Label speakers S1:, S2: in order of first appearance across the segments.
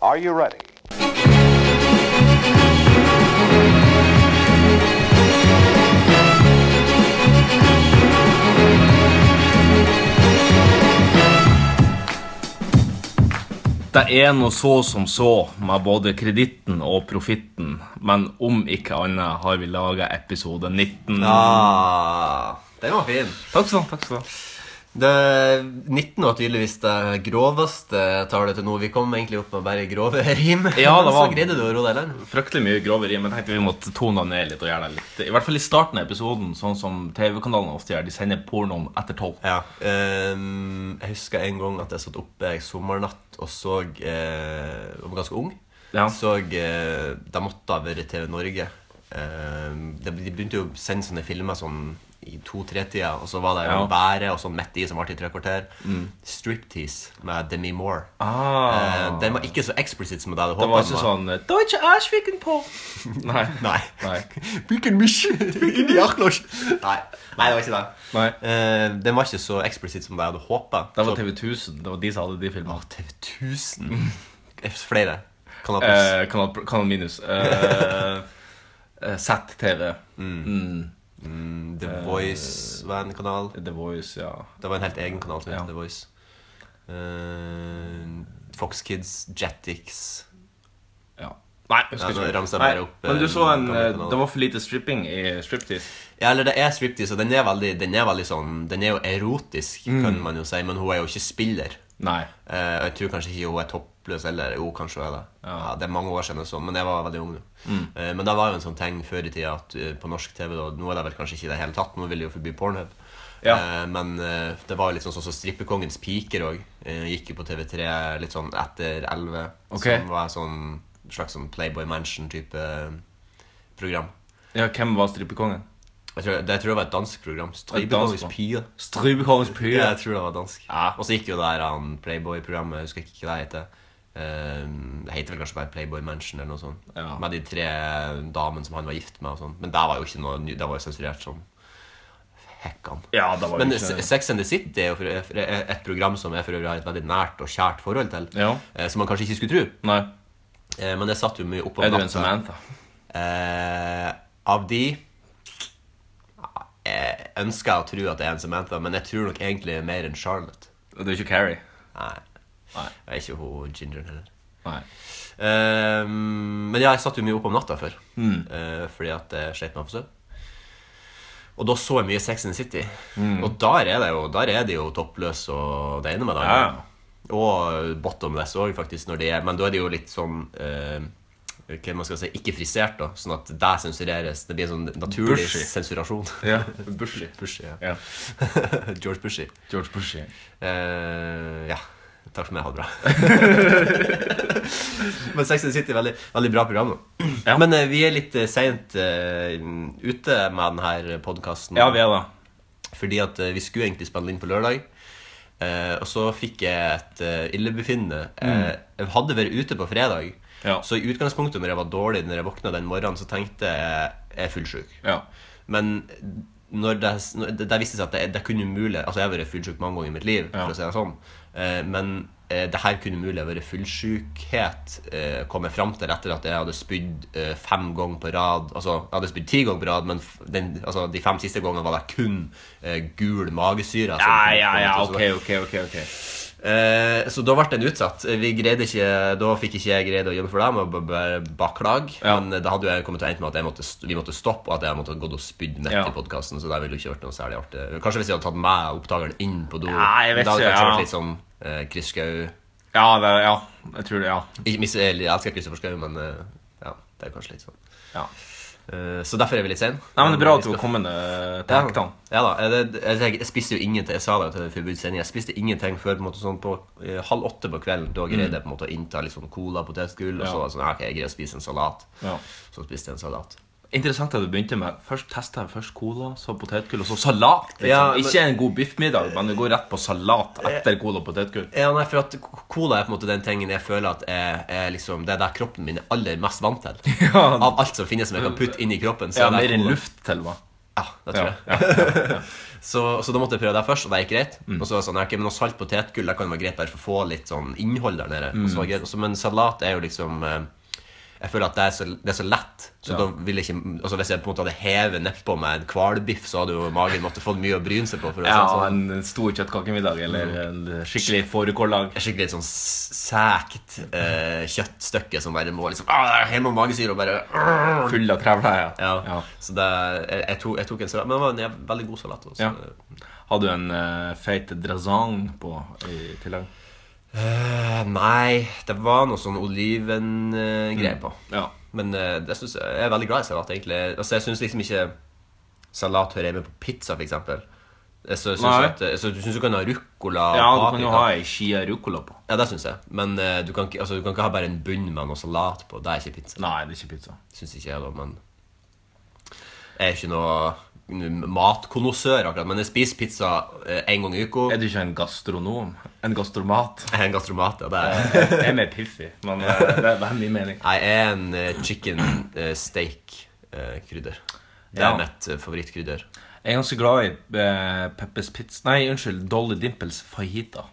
S1: Are you ready?
S2: Det er nå så som så med både kreditten og profitten, men om ikke annet har vi laga episode 19.
S3: Ah, den var fin.
S2: Mm. Takk skal du ha. takk skal du ha.
S3: Det, 19 var tydeligvis det groveste tallet til nå. Vi kom egentlig opp med bare grove rim.
S2: Ja, det var-
S3: Så greide du å roe deg ned.
S2: Fryktelig mye grovere, men jeg tenkte vi måtte tone det ned litt. og gjøre det litt. I hvert fall i starten av episoden, sånn som TV-kanalene ofte gjør. De sender pornoen etter tolv.
S3: Ja. ehm, jeg husker en gang at jeg satt oppe en sommernatt og så eh, Jeg var ganske ung.
S2: Ja.
S3: Så eh, Det måtte ha vært TV Norge. Ehm, det- de begynte jo å sende sånne filmer sånn i to-tre-tida, og så var det
S2: Ja. Mm.
S3: jo Bære og sånn midt i som varte i tre kvarter. Striptease med Demi Moore.
S2: Ah.
S3: Eh, den var ikke så explicit som det jeg hadde
S2: Det
S3: håpet
S2: var
S3: den
S2: ikke sånn eh, Deutsche Arschwicken på. Nei.
S3: Nei.
S2: Nei.
S3: Hvilken misje? Hvilken jakklosj? Nei. Nei, det var ikke det.
S2: Nei.
S3: Eh, den var ikke så eksplisitt som jeg hadde håpa.
S2: Det var TV 1000. Det var de som hadde de filmene.
S3: TV 1000. Flere. Kan ha plass.
S2: Eh, kanal, kanal minus. Eh, eh, ZTV. Mm.
S3: Mm, The
S2: eh,
S3: Voice var en kanal.
S2: The Voice, ja.
S3: Det var en helt egen kanal som het
S2: Ja.
S3: The Voice. Eh, Fox Kids, Jetix
S2: ja. Nei, jeg husker
S3: Ja, nå
S2: ikke.
S3: ramser jeg
S2: Nei,
S3: bare opp,
S2: Men du
S3: eh,
S2: så en
S3: gamle
S2: eh,
S3: kanaler.
S2: Det var for lite stripping i striptease.
S3: Ja, eller det er striptease, og den er veldig, den er veldig sånn Den er jo erotisk,
S2: Mm.
S3: kan man jo si, men hun er jo ikke spiller.
S2: Nei.
S3: Eh, og jeg tror kanskje ikke hun er toppløs heller. Jo, kanskje hun er det. Ja. det er mange år siden, jeg så den, men jeg var veldig ung. da.
S2: Mm.
S3: Eh, men det var jo en sånn ting før i tida at eh, på norsk TV da, Nå er det vel kanskje ikke i det hele tatt, nå vil de jo forby pornhub.
S2: Ja.
S3: Eh, men eh, det var jo litt sånn sånn som Strippekongens piker òg. gikk jo på TV3 litt sånn etter 11.
S2: Ok.
S3: Som var en sånn slags sånn Playboy Mansion-type program.
S2: Ja, hvem var strippekongen?
S3: Jeg tror, det jeg tror jeg var et dansk program.
S2: Et dansk
S3: Strippekongens
S2: program.
S3: pyr.
S2: Strybekongens pyr.
S3: Ja, jeg tror det var dansk.
S2: Ja.
S3: Og så gikk jo det der han Playboy-programmet, jeg husker ikke hva det heter. Ehm, det heter vel kanskje bare Playboy Mansion eller noe sånt.
S2: Ja.
S3: Med de tre damene som han var gift med og sånn. Men det var jo ikke noe ny- det var jo sensurert som hekkan.
S2: Ja, det var jo
S3: Men
S2: ikke
S3: S- Sex and the City er jo for- er et program som jeg for øvrig har et veldig nært og kjært forhold til.
S2: Ja.
S3: eh, Som man kanskje ikke skulle tro.
S2: Nei.
S3: Eh, Men jeg satt jo mye opp om
S2: Er du en Samantha?
S3: Eh, av de ja, Jeg ønsker å tro at det er en Samantha, men jeg tror nok egentlig mer enn Charlotte.
S2: Du er ikke Carrie?
S3: Nei.
S2: Nei.
S3: Jeg er ikke hun gingeren heller.
S2: Nei.
S3: Eh, men ja, jeg satt jo mye opp om natta før,
S2: Mm.
S3: eh, fordi at jeg slet meg for søvn. Og da så jeg mye Sex and the City.
S2: Mm.
S3: Og der er, det jo, der er de jo toppløs og det ene med det
S2: Ja.
S3: andre. Og bottomless òg, faktisk. Når de er, men da er det jo litt sånn eh, hva man skal si, ikke frisert, da. Sånn at det sensureres. Det blir en sånn naturlig
S2: Bushy.
S3: sensurasjon.
S2: Ja. Bushy.
S3: Bushy, ja.
S2: Ja.
S3: George Bushy.
S2: George Bushy.
S3: Eh, ja. Takk for meg. Ha det bra. Men Sex and the City er veldig, veldig bra program. nå.
S2: Ja.
S3: Men eh, vi er litt eh, sent eh, ute med denne podkasten.
S2: Ja, vi er det.
S3: Fordi at eh, vi skulle egentlig spille inn på lørdag. eh, og så fikk jeg et uh, illebefinnende. Eh, jeg hadde vært ute på fredag.
S2: Mm. Ja.
S3: Så i utgangspunktet når jeg var dårlig Når jeg våkna den morgenen, så tenkte jeg jeg er fullsjuk.
S2: Ja.
S3: Men når det, når det, det viste seg at det, det kunne mulig Altså, jeg har vært fullsjuk mange ganger i mitt liv,
S2: Ja.
S3: for å si det sånn. Eh, men eh, det her kunne mulig ha vært fullsjukhet, eh, kom jeg fram til etter at jeg hadde spydd eh, fem ganger på rad. Altså, jeg hadde spydd ti ganger på rad, men f den, altså, de fem siste gangene var det kun eh, gul magesyre. som
S2: Ja,
S3: kom-
S2: ja,
S3: kom
S2: ja.
S3: ut, og så-
S2: Ok, ok, ok. ok.
S3: Eh, så da ble den utsatt. Vi greide ikke, da fikk ikke jeg greid å jobbe for dem. Og b- bare baklag.
S2: Ja.
S3: Men det hadde jo jeg kommet til å ende med at jeg måtte, st- vi måtte stoppe, og at jeg måtte ha gått og spydd nett
S2: Ja.
S3: i podkasten. Så det ville jo ikke vært noe særlig artig. Kanskje hvis jeg hadde tatt meg opptakeren inn på do.
S2: Ja, jeg vet
S3: da hadde
S2: ikke,
S3: det kanskje
S2: ja.
S3: vært litt sånn eh, Chris Skau
S2: Ja, det, ja. jeg tror det. Ja.
S3: Ikke mis- eller, Jeg elsker Christopher Skau, men eh, ja, det er kanskje litt sånn.
S2: ja.
S3: Eh, så derfor er vi litt sein.
S2: Nei, men Det er bra at du
S3: Vi
S2: har
S3: skal-
S2: kommet eh, til
S3: ja,
S2: hektene.
S3: ja da, eh, det, jeg, tenker- jeg spiste jo ingenting Jeg sa det jo til forbudssendingen Jeg spiste ingenting før på en måte sånn på eh, halv åtte på kvelden Da greide jeg på en måte å innta litt sånn cola, potetgull
S2: Mm.
S3: Og
S2: Ja.
S3: så var det sånn, ja, ok, jeg greier å spise en salat
S2: Ja.
S3: Så spiste jeg en salat
S2: Interessant at du begynte med Først testet jeg først cola, så potetgull, og så salat. Liksom.
S3: Ja, men- Eh,
S2: Ikke en god biffmiddag, men du går rett på salat etter cola og potetgull.
S3: Ja, nei, for at k- cola er på en måte den tingen jeg føler at er, er liksom, Det er der kroppen min er aller mest vant til
S2: Ja.
S3: Av alt som finnes som jeg kan putte inn i kroppen så
S2: Ja,
S3: er det
S2: mer enn
S3: cola.
S2: luft til meg.
S3: Ja, det Ah, tror
S2: Ja, Mm.
S3: jeg. så, så da måtte jeg prøve det først, og det gikk greit. Og så var det sånn, ok, men noe salt potetgull det kan være greit bare for å få litt sånn innhold der nede. Og
S2: Mm.
S3: så var det greit. Og så- men salat er jo liksom eh, Jeg føler at det er så, det er så lett. Så
S2: Ja.
S3: da vil jeg ikke altså Hvis jeg på en måte hadde hevet nedpå med en hvalbiff, så hadde jo magen måtte fått mye å bryne seg på. For å si det
S2: Ja,
S3: sånn.
S2: en stor kjøttkakemiddag eller
S3: Mm.
S2: en skikkelig fårikåldag.
S3: Et skikkelig sånn s- sækt eh, kjøttstykke som bare må liksom ah, det er Helt med magesyre og bare ah.
S2: Full av krevler. Ja.
S3: ja.
S2: Ja.
S3: Så det, jeg, jeg, tok, jeg tok en salat. Men det var en jæv- veldig god salat. Også.
S2: Ja. Hadde du en eh, feit drasang på i tillegg?
S3: Eh, nei, det var noe sånn olivengreier på.
S2: Ja.
S3: Men eh, det synes jeg, jeg er veldig glad i salat, egentlig. Altså, Jeg syns liksom ikke salat hører hjemme på pizza, for eksempel. Jeg så, synes
S2: Nei.
S3: at, eh, så du syns du kan ha ruccola og
S2: ja, du kan
S3: paprika.
S2: jo ha ei skia ruccola på.
S3: Ja, det syns jeg. Men eh, du, kan, ikke- altså, du kan ikke ha bare en bunn med noe salat på. Det er ikke pizza.
S2: Nei, det er ikke pizza.
S3: Syns ikke jeg, da, men Jeg er ikke noe matkonnoissør, akkurat. Men jeg spiser pizza én gang i uka.
S2: Er du ikke en gastronom? En gastromat?
S3: Jeg er en gastromat. Ja, det er
S2: Jeg er mer piffig, men eh, det, det er min mening.
S3: Jeg er en eh, chicken eh, steak-krydder. det er
S2: Ja.
S3: mitt eh, favorittkrydder.
S2: Jeg er ganske glad i eh, Peppers Pizza Nei, unnskyld, Dolly Dimples fajita.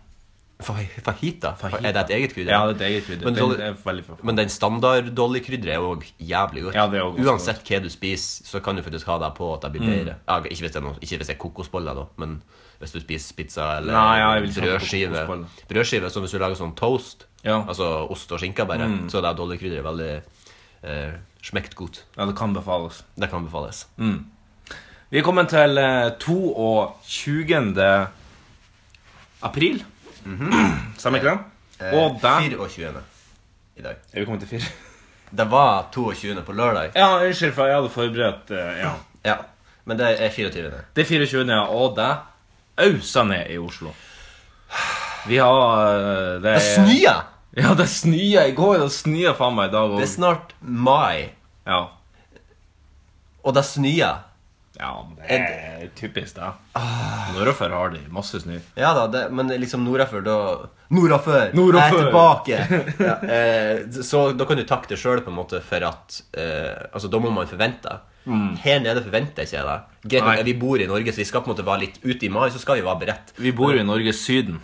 S3: Fa- Fajita?
S2: Fajita.
S3: Er det et eget krydder?
S2: Ja, det er et eget krydder.
S3: Men
S2: Den
S3: Dolly-
S2: er veldig for-
S3: Men den standard Dolly-krydderet er òg jævlig godt.
S2: Ja, det er også Mm. godt.
S3: Uansett hva du spiser, så kan du faktisk ha deg på at det blir bedre. Ja, ikke, hvis det er noe, ikke hvis det er kokosboller, da, men hvis du spiser pizza eller
S2: Nei, ja, jeg vil ikke ha
S3: brødskive.
S2: kokosboller.
S3: Brødskive, så Hvis du lager sånn toast,
S2: Ja. Mm.
S3: altså ost og skinke bare, så er det Dolly-krydderet veldig eh, smekt godt.
S2: Ja, det kan befales.
S3: Det kan befales.
S2: Vi er kommet til eh, 22. april. Mhm. Stemmer ikke det? Og
S3: Eh,
S2: der
S3: 24. i dag.
S2: Eh, Er vi kommet til fire?
S3: Det var 22. på lørdag.
S2: Ja, unnskyld, for jeg hadde forberedt eh, ja.
S3: Ja, Men det er 24.
S2: Det er 24. ja, og det auser ned i Oslo. Vi har eh, Det,
S3: Det snør!
S2: Ja, det snøa i går. Det snøa faen meg i dag
S3: Det er
S2: òg.
S3: snart mai,
S2: Ja.
S3: og det snør.
S2: ja, det er typisk, det. Nordafor har de masse snø.
S3: Ja da, det, men liksom nordafor, da Nordafor! Jeg er
S2: Nordafor!
S3: tilbake! ja, eh, så da kan du takke deg sjøl, på en måte, for at eh, Altså, da må man forvente. Her nede forventer jeg ikke det. Greit,
S2: Mm. Nei.
S3: nok, Vi bor i Norge, så vi skal på en måte være litt ute i mai, så skal vi være beredt.
S2: Vi bor jo i Norges Syden.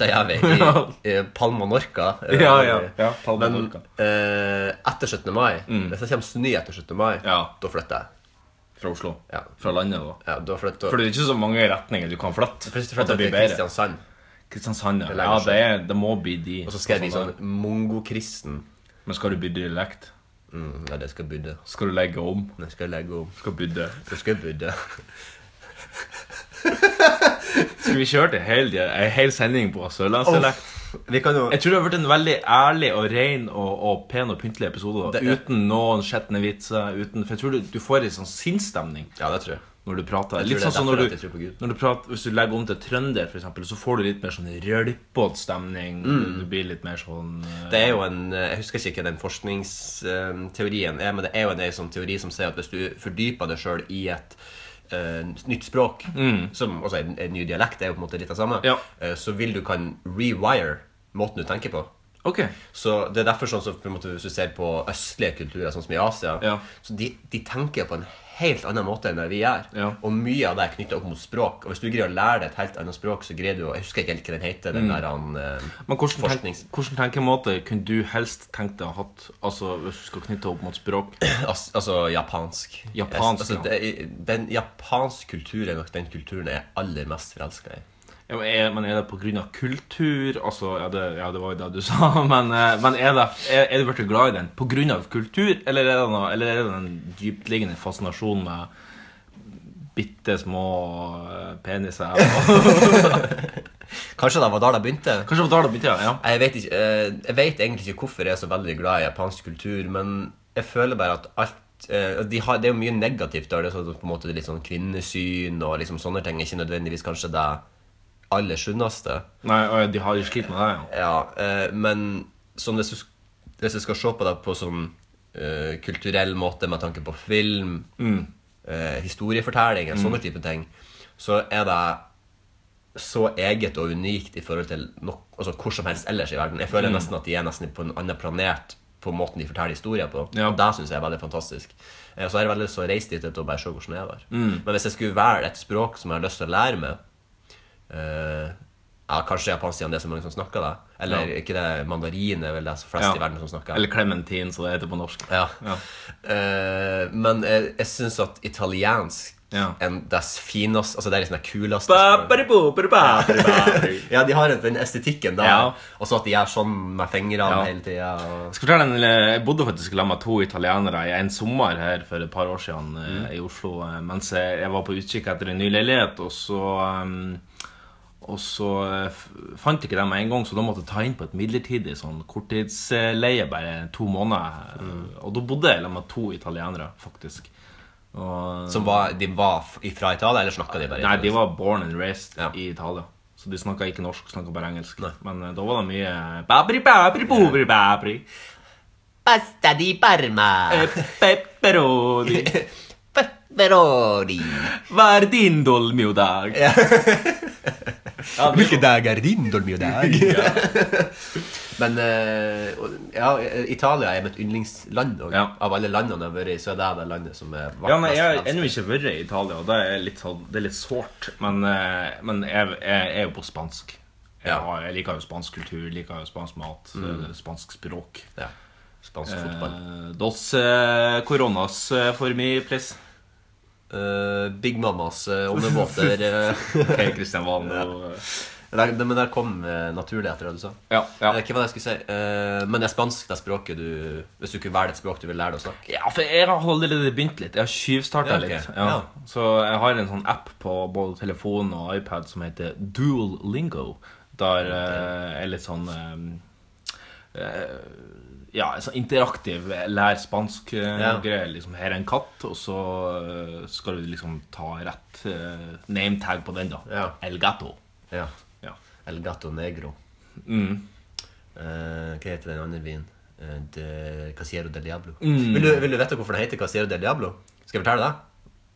S3: Det gjør vi. I, i Palma Norca. eh,
S2: ja. Ta den
S3: Men
S2: orka.
S3: eh, etter 17. mai Hvis det kommer snø etter 17. mai,
S2: Ja.
S3: da flytter jeg.
S2: Fra Oslo?
S3: Ja.
S2: Fra landet, da?
S3: Ja, da flytter
S2: For det er ikke så mange retninger du kan flytte.
S3: Først
S2: at
S3: flytter jeg til Kristiansand.
S2: Kristiansand, ja.
S3: Det er
S2: ja
S3: lenger
S2: det, er, det må bli de. sånn-
S3: Og så skal jeg bli sånn mongokristen.
S2: Men skal du bydde dialekt?
S3: Mm, ja, det skal jeg budde.
S2: Skal du legge om?
S3: Det skal jeg legge om.
S2: Skal bydde?
S3: Det skal jeg budde.
S2: Skal vi kjøre til hel, en hel sending på sørlandsdialekt?
S3: Vi kan jo
S2: Jeg tror det har vært en veldig ærlig og ren og, og pen og pyntelig episode. da.
S3: Det er-
S2: Uten noen skjetne vitser. Uten, for jeg tror du, du får en sånn sinnsstemning
S3: Ja, det tror jeg.
S2: når du prater.
S3: Jeg tror
S2: Litt
S3: det er
S2: sånn som
S3: derfor
S2: når
S3: at jeg
S2: du,
S3: tror på Gud.
S2: når du prater, Hvis du legger om til trønder, for eksempel, så får du litt mer sånn rølpete stemning.
S3: Mm.
S2: Du blir litt mer sånn eh,
S3: Det er jo en, eh, Jeg husker ikke hva den forskningsteorien er, men det er jo en, en sånn teori som sier at hvis du fordyper deg sjøl i et eh, nytt språk, som også er en, en ny dialekt, er jo på en måte litt av samme,
S2: Mm. Ja.
S3: eh, så vil du kan rewire måten du tenker på.
S2: OK.
S3: Så det er derfor sånn som på en måte, Hvis du ser på østlige kulturer, sånn som i Asia
S2: Ja.
S3: så de, de tenker på en helt annen måte enn det vi gjør.
S2: Ja.
S3: Og mye av det er knytta opp mot språk. Og hvis du greier å lære deg et helt annet språk, så greier du å Jeg husker ikke helt hva den heter.
S2: Mm.
S3: den der han... eh,
S2: Men hvordan, tenk,
S3: Forsknings-
S2: hvordan tenkemåte kunne du helst tenkt deg å hatt Altså hvis du skal knytte opp mot språk?
S3: as, altså japansk.
S2: Japansk,
S3: altså,
S2: ja.
S3: det, den japanske kulturen er nok den kulturen jeg er aller mest forelska i.
S2: Ja, Men er, men er det pga. kultur? Altså, ja det, ja, det var jo det du sa, men, eh, men er, det, er, er du blitt glad i den pga. kultur, eller er det, noe, eller er det den dyptliggende fascinasjonen med bitte små eh, peniser? Og,
S3: Kanskje det var da det begynte?
S2: kanskje det var da det begynte, ja.
S3: Jeg vet, ikke, eh, jeg vet egentlig ikke hvorfor jeg er så veldig glad i japansk kultur, men jeg føler bare at alt eh, de har, Det er jo mye negativt der. Det er sånn, på en måte litt sånn kvinnesyn og liksom sånne ting. er Ikke nødvendigvis kanskje det aller sunneste.
S2: Nei, og de har jo slitt med det, ja.
S3: Ja, eh, men sånn hvis du, sk- hvis du skal se på det på sånn eh, kulturell måte med tanke på film, eh, historiefortelling og sånne type ting, så er det så eget og unikt i forhold til nok, altså hvor som helst ellers i verden. Jeg føler nesten at de er nesten på en annen planet på måten de forteller historier på.
S2: Ja.
S3: Og det syns jeg er veldig fantastisk. Eh, Så har jeg veldig lyst til å reise dit og bare se hvordan det er der. Men hvis jeg skulle velge et språk som jeg har lyst til å lære meg eh, ja, Kanskje japansk, siden det er så mange som snakker det. Eller ikke det, mandarin er vel det som flest
S2: Ja.
S3: i verden som snakker.
S2: Eller clementin, som det heter på norsk.
S3: Ja.
S2: Ja.
S3: Eh, men jeg, jeg syns at italiensk
S2: Ja.
S3: er dess fineste Altså det er liksom det kuleste
S2: Ba,
S3: språket.
S2: ba, ba, ba, ba, ba, ba.
S3: Ja, de har den estetikken der.
S2: Ja.
S3: Og så at de gjør sånn med fingrene
S2: Ja.
S3: hele tida. Og...
S2: Jeg skal fortelle en, eh, jeg bodde faktisk sammen med to italienere i en sommer her for et par år siden eh, i Oslo, eh, mens jeg jeg var på utkikk etter en ny leilighet, og så, ehm, og så eh, f- fant ikke dem med en gang, så da måtte jeg ta inn på et midlertidig sånn korttidsleie, bare to måneder. eh, Og da bodde jeg sammen med to italienere, faktisk. Og,
S3: Som var, de var f- fra Italia, eller snakka de bare
S2: Nei, de var born and raised
S3: Ja.
S2: i Italia. Så de snakka ikke norsk, snakka bare engelsk. Men eh, da var det mye babri, babri, bobri, babri.
S3: Pasta di Parma!
S2: Eh, Pepperoni.
S3: Pepperoni!
S2: Hva er din dolmiodag? Ja.
S3: Hvilken dag er din dolmiodag? Men eh, og- ja, Italia er mitt yndlingsland. Og,
S2: Ja.
S3: Av alle landene jeg har vært i, så er det det landet som er
S2: Ja, nei, Jeg har
S3: mest-
S2: ennå ikke vært i Italia, og det er litt, sånn- det er litt sårt. Men, eh, men jeg, jeg er jo på spansk. Jeg,
S3: Ja.
S2: har, jeg liker jo spansk kultur, liker jo spansk mat, eh, spansk språk.
S3: ja. Spansk fotball.
S2: Eh, dos eh, coronas eh, for me, please.
S3: Eh, Big Mamas eh, åndevåter eh,
S2: Ok, Kristian Valen. og-
S3: Nei, det- Men der kom eh, naturlig etter det du sa.
S2: Ja, ja.
S3: Eh, Hva var det jeg skulle si? Eh, men det er spansk, det er språket du Hvis du kunne velge et språk du vil lære deg å snakke.
S2: Ja, for jeg har allerede begynt litt. Jeg har tjuvstarta
S3: Ja, ok.
S2: litt. Ja.
S3: Ja.
S2: Så jeg har en sånn app på både telefon og iPad som heter Dual Lingo. Der eh, er litt sånn eh, eh, Ja, en sånn interaktiv lær
S3: Ja.
S2: spansk-greie. Liksom, her er en katt, og så eh, skal du liksom ta rett eh, name tag på den, da.
S3: Ja.
S2: El gato.
S3: Ja.
S2: Ja.
S3: El gato negro.
S2: Mm.
S3: Eh, hva heter den andre byen? Eh, de Casiero del Diablo.
S2: Mm.
S3: Vil, du, vil du vite hvorfor den heter Casiero del Diablo? Skal jeg fortelle deg?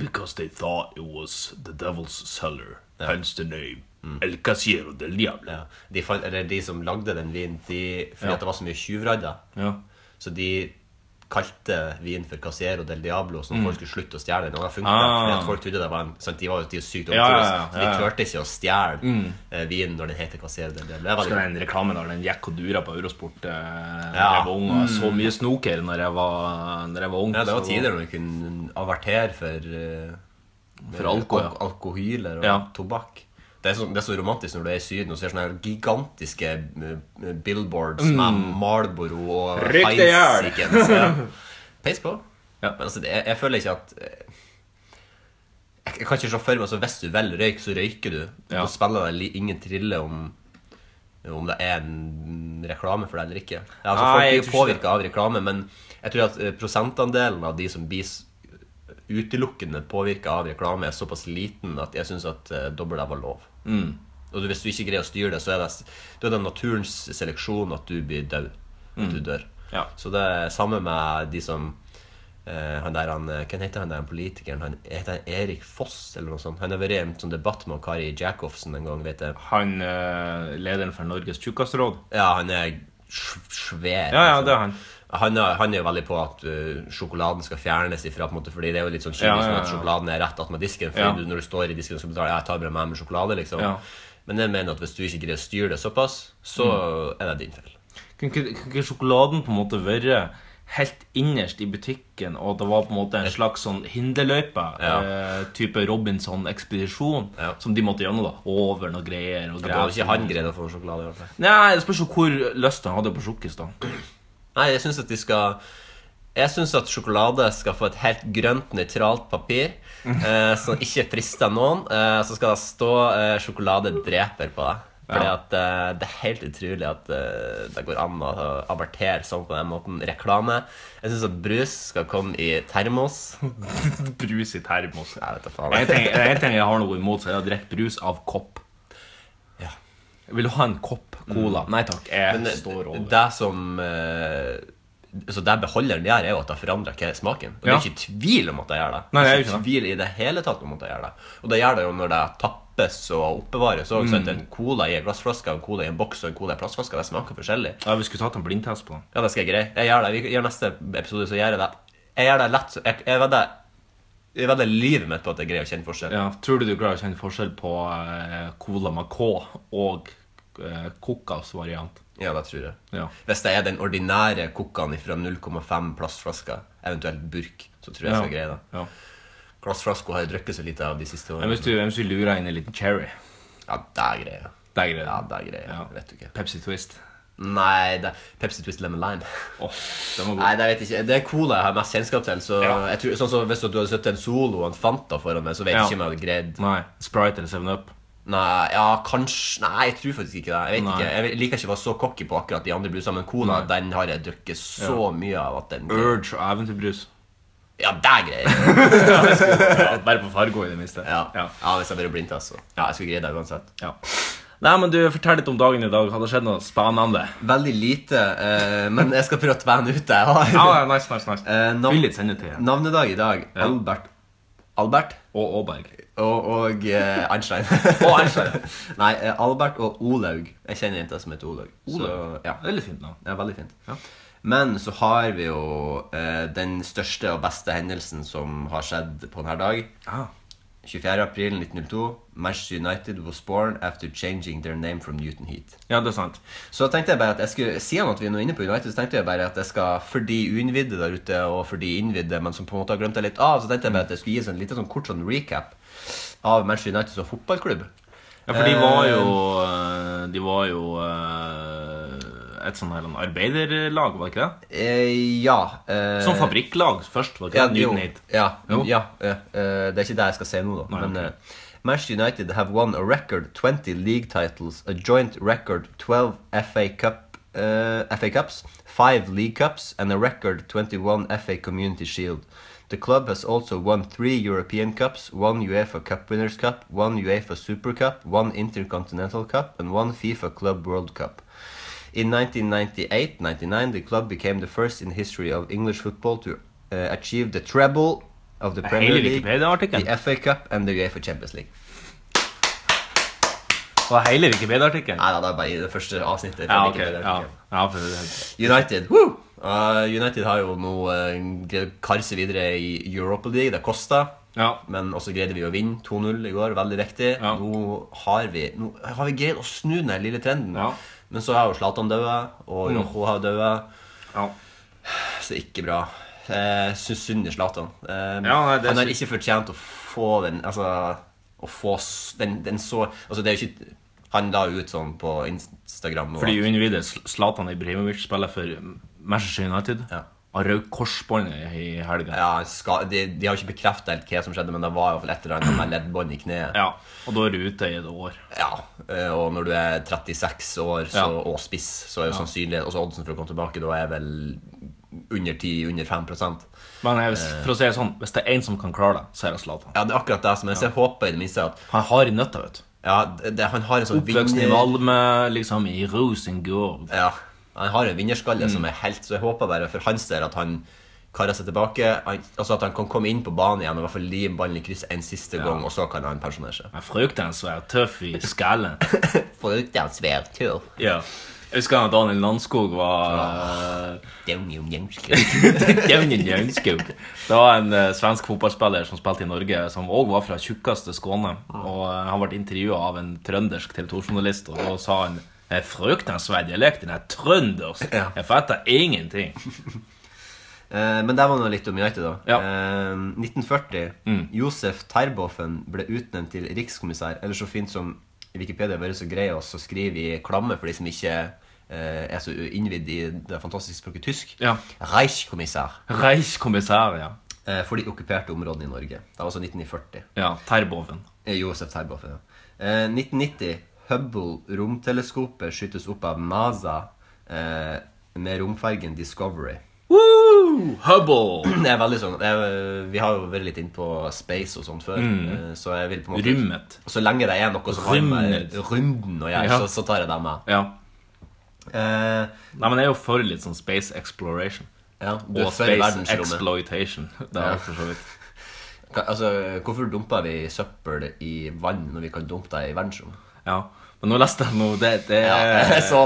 S2: Because they thought it was the devil's cellar. Hence the name.
S3: Mm.
S2: El Casiero del Diablo.
S3: Ja. De, fant, eller de som lagde den vinen, de, fordi
S2: Ja.
S3: at det var så mye tjuvradder,
S2: Ja.
S3: så de kalte vin for Casiero del Diablo, så folk skulle slutte å stjele den. Og det funket,
S2: Mm. Ah.
S3: fordi at folk trodde det var en sant, De var jo de var sykt
S2: Ja, ja, ja,
S3: omtrent, så de
S2: ja, Mm. ja.
S3: turte ikke å stjele eh, vinen når den heter Casiero del Diablo. Det er veldig
S2: husker den reklamen der den gikk og dura på Eurosport eh, når
S3: Ja.
S2: jeg var ung. og Så mye snoker når jeg var, når jeg var ung.
S3: Ja, det var
S2: så-
S3: tider når vi kunne avertere for eh,
S2: For alko, ja.
S3: alk- alkohyler og
S2: Ja.
S3: tobakk. Det er, så, det er så romantisk når du er i Syden og ser sånne her gigantiske eh, billboards
S2: Mm.
S3: med Marlboro og
S2: Rykk det gjør!
S3: Heisikens, ja. Peis på.
S2: Ja.
S3: Men altså, det, jeg, jeg føler ikke at eh, Jeg jeg kan ikke se for meg altså, Hvis du vil røyke, så røyker du.
S2: Ja.
S3: Da spiller det li- ingen trille om om det er en reklame for det eller ikke. Ja, altså,
S2: Nei, jeg
S3: folk blir jo
S2: tror ikke
S3: påvirka av reklame, men jeg tror at eh, prosentandelen av de som blir s- utelukkende påvirka av reklame, er såpass liten at jeg syns at eh, dobbel deg var lov.
S2: Mm.
S3: Og du, hvis du ikke greier å styre det, så er det, s- da er det naturens seleksjon at du blir død. At
S2: Mm.
S3: du dør.
S2: Ja.
S3: Så det er samme med de som eh, han der, han, eh, Hvem heter han der han politikeren? Han, heter han Erik Foss, eller noe sånt? Han har vært i en sånn debatt med Kari Jacobsen en gang, vet jeg.
S2: Han eh, lederen for Norges tjukkastråd.
S3: Ja, han er sv-
S2: Ja,
S3: svær.
S2: ja,
S3: liksom.
S2: det er han.
S3: Han er, han er jo veldig på at uh, sjokoladen skal fjernes ifra, på en måte, fordi det er jo litt sånn kynisk
S2: Ja, ja, ja.
S3: at sjokoladen er rett attmed disken. For
S2: Ja.
S3: du, når du står i disken og skal betale, ja, jeg tar bare med meg sjokolade, liksom.
S2: Ja.
S3: Men jeg mener at hvis du ikke greier å styre det såpass, så
S2: Mm.
S3: er det din feil.
S2: Kunne ikke- kunne ikke sjokoladen på en måte være helt innerst i butikken, og det var på en måte en slags sånn hinderløype?
S3: Ja.
S2: Eh, type Robinson-ekspedisjon
S3: Ja.
S2: som de måtte gjennom. da Over noe greier og
S3: Da
S2: greier.
S3: hadde ikke han greid å få sjokolade. i hvert fall.
S2: Nei, Det spørs jo hvor lyst han hadde på sjokkis, da.
S3: Nei, jeg syns at de skal Jeg synes at sjokolade skal få et helt grønt, nøytralt papir eh, som ikke frister noen. Eh, så skal det stå eh, 'sjokolade dreper' på det. Fordi
S2: Ja.
S3: at eh, Det er helt utrolig at eh, det går an å avertere sånn på den måten. Reklame. Jeg syns at brus skal komme i termos.
S2: Brus i termos.
S3: Jeg vet da faen.
S2: En ting, en ting jeg har noe imot, så er å drikke brus av kopp.
S3: Ja.
S2: Vil du ha en kopp cola? Nei takk. Jeg
S3: Men
S2: står
S3: det,
S2: over.
S3: det som eh, så det beholderen gjør, er jo at det forandrer hva smaken. Og
S2: Ja.
S3: Det er ikke tvil om at det gjør det.
S2: Nei, det er jo
S3: det
S2: ikke det.
S3: tvil i det hele tatt om at det gjør det. Og det gjør det jo når det tappes og oppbevares. Og mm. En cola i en glassflaske, en cola i en boks og en cola i en plastflaske, det smaker forskjellig.
S2: Ja, Vi skulle tatt en blindtest på den.
S3: Ja, det skal jeg greie. Jeg gjør det. Vi gjør neste episode, så gjør jeg det. Jeg gjør det lett. så- Jeg, jeg vedder jeg vedder livet mitt på at jeg greier å kjenne forskjell.
S2: Ja, Tror du du klarer å kjenne forskjell på eh, cola med K og eh, Cocas variant?
S3: Ja, det tror jeg.
S2: Ja.
S3: Hvis det er den ordinære kokken fra 0,5 plastflasker, eventuelt burk, så tror jeg jeg skal greie det.
S2: Ja.
S3: Glassflasker har jeg drukket så lite av de siste
S2: Men
S3: årene.
S2: hvis du, hvis du lurer inn en liten cherry
S3: Ja, det greier jeg.
S2: Det er greit.
S3: Ja, det greier jeg.
S2: Ja.
S3: Vet du ikke.
S2: Pepsi Twist.
S3: Nei, det Pepsi Twist Lemon Lime.
S2: Åh, den var god.
S3: Nei, det vet jeg ikke. Det er cola jeg har mest kjennskap til. Så
S2: Ja.
S3: jeg tror, sånn som Hvis du hadde sittet en Solo og en Fanta foran meg, så vet jeg
S2: Ja.
S3: ikke om jeg hadde greid
S2: Nei. Sprite eller Seven Up.
S3: Nei, ja, kanskje Nei, jeg tror faktisk ikke det. Jeg vet
S2: Nei.
S3: ikke, jeg liker ikke å være så cocky på akkurat de andre brusene, men cola den har jeg drukket så mye av at den
S2: Urge og eventyrbrus.
S3: Ja, det er greier!
S2: Ja, bare på Fargo, i det minste.
S3: Ja. ja.
S2: Ja.
S3: hvis jeg bare blindt, altså. Ja, jeg skulle greie det uansett.
S2: Ja. Nei, men du, Fortell litt om dagen i dag. Har det skjedd noe spennende?
S3: Veldig lite, eh, men jeg skal prøve å tvæne ut det jeg har.
S2: Ja, ja, nice, nice, nice.
S3: Eh, navn-
S2: Vil litt sende til igjen.
S3: Navnedag i dag. Albert. Albert
S2: Og Aaberg.
S3: og, og eh, Einstein.
S2: Og Einstein.
S3: Nei, eh, Albert og Olaug. Jeg kjenner en jente som heter Olaug.
S2: Olaug.
S3: Så, ja.
S2: Veldig fint navn.
S3: Ja, veldig fint.
S2: Ja.
S3: Men så har vi jo eh, den største og beste hendelsen som har skjedd på denne dag.
S2: Ah.
S3: 24. april 1902. Manchester United was born after changing their name from Newton Heat.
S2: Ja, det er sant.
S3: Så tenkte jeg bare at jeg skulle, Siden at vi er nå inne på United, så tenkte jeg bare at jeg skal for de uinnvidde der ute, og for de innvidde, men som på en måte har glemt det litt av, så tenkte jeg bare at jeg skulle gi oss en liten sånn kort sånn recap av Manchester United som fotballklubb.
S2: Ja, for de var jo eh, De var jo eh, et sånn her en arbeiderlag, var det ikke det?
S3: Eh, ja. Eh,
S2: Sånn fabrikklag først, var det ikke det?
S3: jo,
S2: Newton Heat.
S3: Ja,
S2: Jo.
S3: ja, ja, eh, det er ikke det jeg skal si nå, da.
S2: Nei,
S3: men eh, Manchester United have won a record 20 league titles, a joint record 12 FA Cup eh, FA Cups, 5 League Cups and a record 21 FA Community Shield. The club has also won 3 European Cups, 1 UEFA Cup Winners' Cup, 1 UEFA Super Cup, 1 Intercontinental Cup and 1 FIFA Club World Cup. In 1998-99, the club became the first in history of English football to uh, achieve the treble of the Premier
S2: Hele
S3: League,
S2: Wikipedia-artikkelen.
S3: the FA Cup and the UEFA Champions League.
S2: Var hele Wikipedia-artikkelen?
S3: Nei, da, det er bare i det første avsnittet.
S2: Ja,
S3: fra
S2: ok.
S3: Wikipedia.
S2: Ja. Ja, for det-
S3: United woo! Uh, United har jo nå uh, greid å karre seg videre i Europa League. Det kosta.
S2: ja.
S3: Men også greide vi å vinne 2-0 i går. Veldig viktig.
S2: Ja.
S3: Nå, har vi, nå har vi greid å snu den her lille trenden.
S2: Ja. Mm.
S3: Men så har jo Zlatan dødd, og Rojo har dødd.
S2: ja.
S3: Så ikke bra. Eh, Syns synd i Zlatan.
S2: Ja,
S3: Eh,
S2: nei, det
S3: han har
S2: syns-
S3: ikke fortjent å få den Altså å få s- den, den så Altså, det er jo ikke Han la jo ut sånn på Instagram og
S2: Fordi uinnvidde Zlatan Ibrahimovic spiller for Manchester United.
S3: Ja.
S2: Har rød korsbånd i helga.
S3: ja, han ska, de, de har jo ikke bekrefta helt hva som skjedde, men det var i hvert fall et eller annet med leddbånd i kneet.
S2: Ja. Og da er du ute i et år.
S3: eh, Og når du er 36 år så,
S2: Ja.
S3: og spiss, så er jo sannsynlig Altså oddsen for å komme tilbake da er vel under 10, under 5
S2: Men jeg,
S3: Eh.
S2: for å si det sånn, hvis det er én som kan klare det, så er det Zlatan.
S3: Ja, det er akkurat det som jeg, så jeg håper i det minste at
S2: Han har i nøtta, vet du.
S3: ja, det, han har en sånn
S2: Oppvoksen i
S3: vinner-
S2: Malmö, liksom i Rosengård.
S3: Ja. Han har en vinnerskalle som er helt Så jeg håper bare for hans del at han karer seg tilbake. Han, altså At han kan komme inn på banen igjen og i hvert fall lime ballen i krysset en siste gang, og så kan han pensjonere seg.
S2: Jeg frykter han som er tøff i skallen.
S3: Foruten svær tur.
S2: ja. Jeg husker han Daniel Landskog var eh,
S3: Down your name, skriv.
S2: Jevnjen Jevnskog. Det var en eh, svensk fotballspiller som spilte i Norge, som òg var fra tjukkeste Skåne. Og eh, Han ble intervjua av en trøndersk TV 2-journalist, og da sa han jeg frykter han svær dialekt, den er trøndersk.
S3: Ja.
S2: Jeg fatter ingenting.
S3: Eh, Men det var nå litt om United, da.
S2: Ja. Mm.
S3: Eh, 1940. Josef Terboven ble utnevnt til rikskommissær. Eller så fint som Wikipedia har vært så grei å så skrive i klamme for de som ikke eh, er så innvidd i det fantastiske språket tysk.
S2: Ja.
S3: Reichkommissær.
S2: Reichskommissær, ja.
S3: Eh, For de okkuperte områdene i Norge. Det var altså 1940.
S2: Ja, Terboven.
S3: Eh, Josef Terboven, ja. Eh, 1990. Hubble-romteleskopet skytes opp av NASA eh, med romfergen Discovery.
S2: Woo! Hubble!
S3: Det er veldig sånn det er- Vi har jo vært litt inne på space og sånt før,
S2: Mm.
S3: eh, så jeg vil på en måte
S2: Rymmet.
S3: Så lenge det er noe som har med
S2: Rymmet.
S3: runden å gjøre,
S2: Ja.
S3: så, så tar jeg det med.
S2: Ja.
S3: Eh,
S2: Nei, men jeg er jo for litt sånn space exploration.
S3: Ja, du er
S2: Og
S3: for
S2: Space
S3: verdensrommet.
S2: Exploitation. Det er
S3: Ja.
S2: også så vidt.
S3: Ka- Altså, Hvorfor dumper vi søppel i vann når vi kan dumpe det i verdensrommet?
S2: Ja. Men nå leste jeg noe Det, det,
S3: Ja, jeg så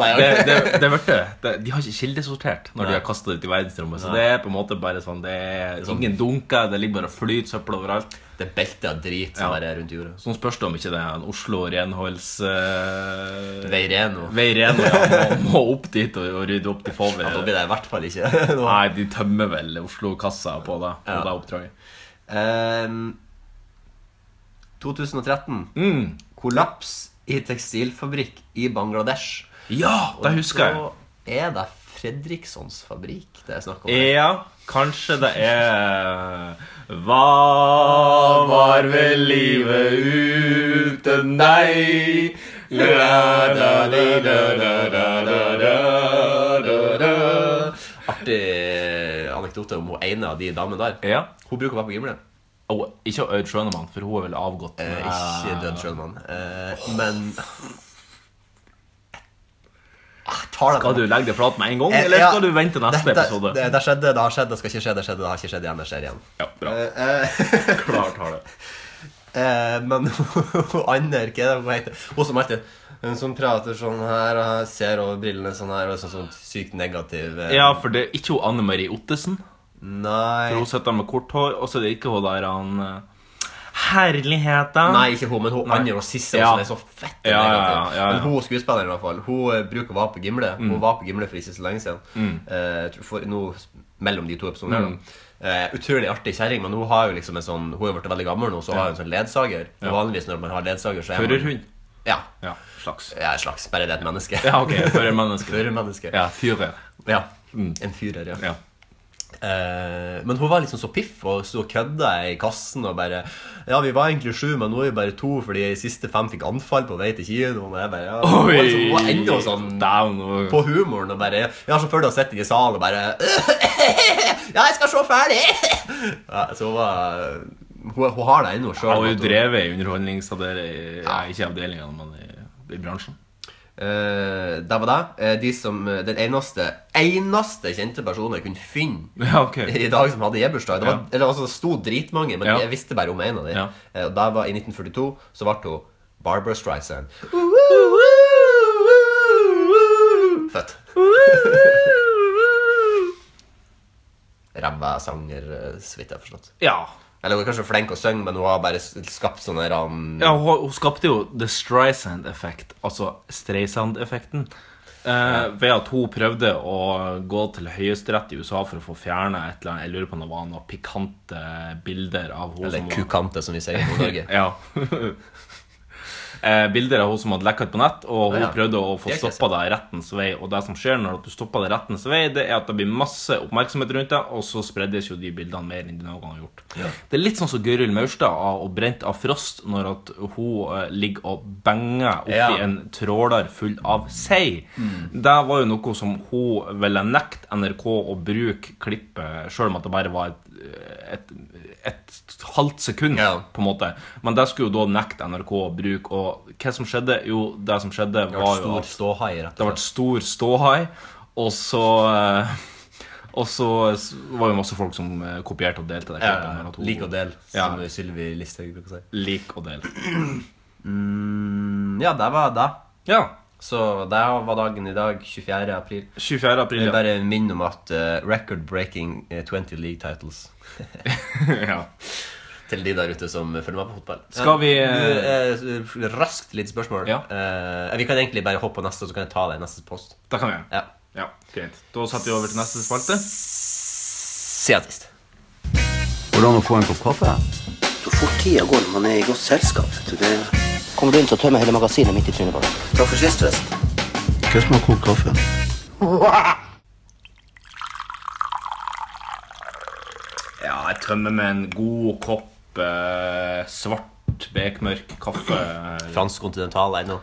S2: det,
S3: det, ja.
S2: det, det er verdt det. det. De har ikke kildesortert når
S3: Nei.
S2: de har kasta det ut i verdensrommet. Så
S3: Nei.
S2: det er på en måte bare sånn Det er
S3: Sånn.
S2: ingen dunker, det ligger bare og flyter søppel overalt.
S3: Det beltet av drit som
S2: Ja.
S3: er rundt jorda.
S2: Så nå spørs det om ikke det er en Oslo renholds... Uh,
S3: Veireno.
S2: Veireno ja, må, må opp dit og, og rydde opp til Fåvær.
S3: Ja, da blir det i hvert fall ikke noe.
S2: Nei, de tømmer vel Oslo-kassa på det, på
S3: Ja.
S2: det oppdraget.
S3: Ehm, 2013.
S2: Mm.
S3: Kollaps i tekstilfabrikk i Bangladesh.
S2: Ja, det husker jeg.
S3: Da er det Fredrikssons fabrikk det er snakk om. her.
S2: Ja, kanskje det er Hva var vel livet uten deg? La, da, da, da, da, da, da, da, da, da.
S3: Artig anekdote om hun ene av de damene der.
S2: Ja.
S3: Hun bruker å være på Gimle.
S2: Å, ikke Aud Schønemann, for hun er vel avgått.
S3: Eh, ikke død sjølmann. Eh, men Ah, tar det
S2: Skal du legge deg flat med en gang,
S3: Eh,
S2: eller
S3: ja.
S2: skal du vente neste
S3: Dette-
S2: episode?
S3: Det, det skjedde, det har skjedd, det skal ikke skje, det skjedde, det har ikke skjedd igjen, det skjer igjen.
S2: Ja, bra.
S3: Eh,
S2: Klar tale.
S3: eh, men hun andre, hva er det hun heter? Hun som alltid Hun som prater sånn her og ser over brillene sånn her og er sånn, sånn sykt negativ eh,
S2: Ja, for det er ikke hun Anne Marie Ottesen.
S3: Nei.
S2: For hun sitter med kort hår, og så er det ikke hun der han eh, Herligheten!
S3: Nei, ikke hun, men hun
S2: Nei.
S3: andre og siste.
S2: Ja.
S3: Hun som er så fett
S2: Ja, ja,
S3: negativ.
S2: ja, ja, Mm. ja.
S3: Men hun skuespilleren, i hvert fall, hun eh, bruker å være på Gimle. Hun var på Gimle for ikke så lenge siden.
S2: Mm.
S3: Eh, jeg tror for, nå, mellom de to episodene. her, da. Eh, utrolig artig kjerring, men hun har jo liksom en sånn Hun er blitt veldig gammel nå, så hun har jo en sånn ledsager. Og vanligvis når man har ledsager, så er man
S2: Førerhund.
S3: Ja.
S2: Ja, slags.
S3: ja. En slags. Bare det er et menneske.
S2: Ja, ok. Førermenneske.
S3: Førermenneske.
S2: Ja, fyrer.
S3: Ja. Mm. En fyrer, ja.
S2: Ja.
S3: Eh, men hun var liksom så piff og sto og kødda i kassen og bare Ja, vi var egentlig sju, men nå er vi bare to fordi de siste fem fikk anfall på vei til kinoen. Og jeg bare, ja, hun var liksom, hun var enda sånn
S2: Down. og-
S3: på humoren og bare Ja, sjåføren har sittet i salen og bare Ja, jeg skal se ferdig! ja, så hun var Hun, hun har det ennå
S2: Jeg har jo
S3: sjøl.
S2: drevet i underholdningsavdelingen Nei, ikke avdelingen, men i, i bransjen.
S3: det var det. Eh, de som, den eneste, eneste kjente personen jeg kunne finne
S2: Ja, ok.
S3: i dag som hadde e-bursdag. Det, var-
S2: Ja.
S3: eller, altså, det sto dritmange, men
S2: Ja.
S3: jeg visste bare om en av dem.
S2: Ja.
S3: Og der var, I 1942 så ble hun Barbara Streisand. Født. Ræva sanger, eh, så vidt jeg har forstått.
S2: Ja.
S3: Eller hun er kanskje flink å synge, men hun har bare s- skapt sånne um, ram...
S2: ja hun, hun skapte jo The Streisand-effekt, altså Streisand-effekten. Eh, ved at hun prøvde å gå til høyesterett i USA for å få fjerna et eller annet Jeg lurer på om det var noen pikante bilder av hun
S3: Eller
S2: som var-
S3: kukante, som vi sier i Norge.
S2: Ja. Eh, Bilder av hun som hadde lekka ut på nett, og hun
S3: Ja, ja.
S2: prøvde å få
S3: Det er ikke
S2: stoppa det rettens vei. Og det som skjer når du stopper det rettens vei, det er at det blir masse oppmerksomhet rundt deg, og så spreddes jo de bildene mer enn de noen gang har gjort. Det er litt sånn som Gøril Maurstad av- og brent av frost, når at hun eh, ligger og banger oppi
S3: Ja.
S2: en tråler full av sei. Det var jo noe som hun ville nekte NRK å bruke klippet, sjøl om at det bare var et, et, et halvt sekund
S3: Ja.
S2: på en måte. Men det skulle jo da nekte NRK å bruke, og hva som skjedde? Jo, det som skjedde,
S3: Det ble
S2: var jo
S3: stor
S2: at
S3: ståhai, rett
S2: det
S3: og
S2: ble stor ståhai, og så eh, Og så s- var jo masse folk som eh, kopierte og delte det. klippet med
S3: slett.
S2: at hun-
S3: Lik og del,
S2: Ja.
S3: som Sylvi Listhaug bruker å si.
S2: Lik og del.
S3: Mm, ja, det var det.
S2: Ja.
S3: Så det var dagen i dag, 24. april.
S2: 24. april.
S3: Jeg vil
S2: Ja.
S3: bare minne om at eh, record-breaking eh, 20 league titles
S2: ja.
S3: til de der ute som følger med på fotball.
S2: Skal vi, eh,
S3: Du, eh, raskt litt spørsmål.
S2: Ja.
S3: Eh, vi kan egentlig bare hoppe på neste, så kan jeg ta det i neste post.
S2: Det kan vi gjøre.
S3: Ja.
S2: Ja, greit. Da setter vi over til neste spalte.
S3: Se deg sist.
S1: Går det an å få en kopp kaffe?
S4: Så fort tida går når man er i godt selskap. vet du, det...
S5: Kommer du inn, så tømmer jeg hele magasinet midt i trynet på deg.
S4: Takk for sist, forresten.
S1: Hva som har kokt kaffe?
S2: Ja, jeg tømmer med en god kopp eh, svart bekmørk kaffe.
S3: Fransk kontinental ennå.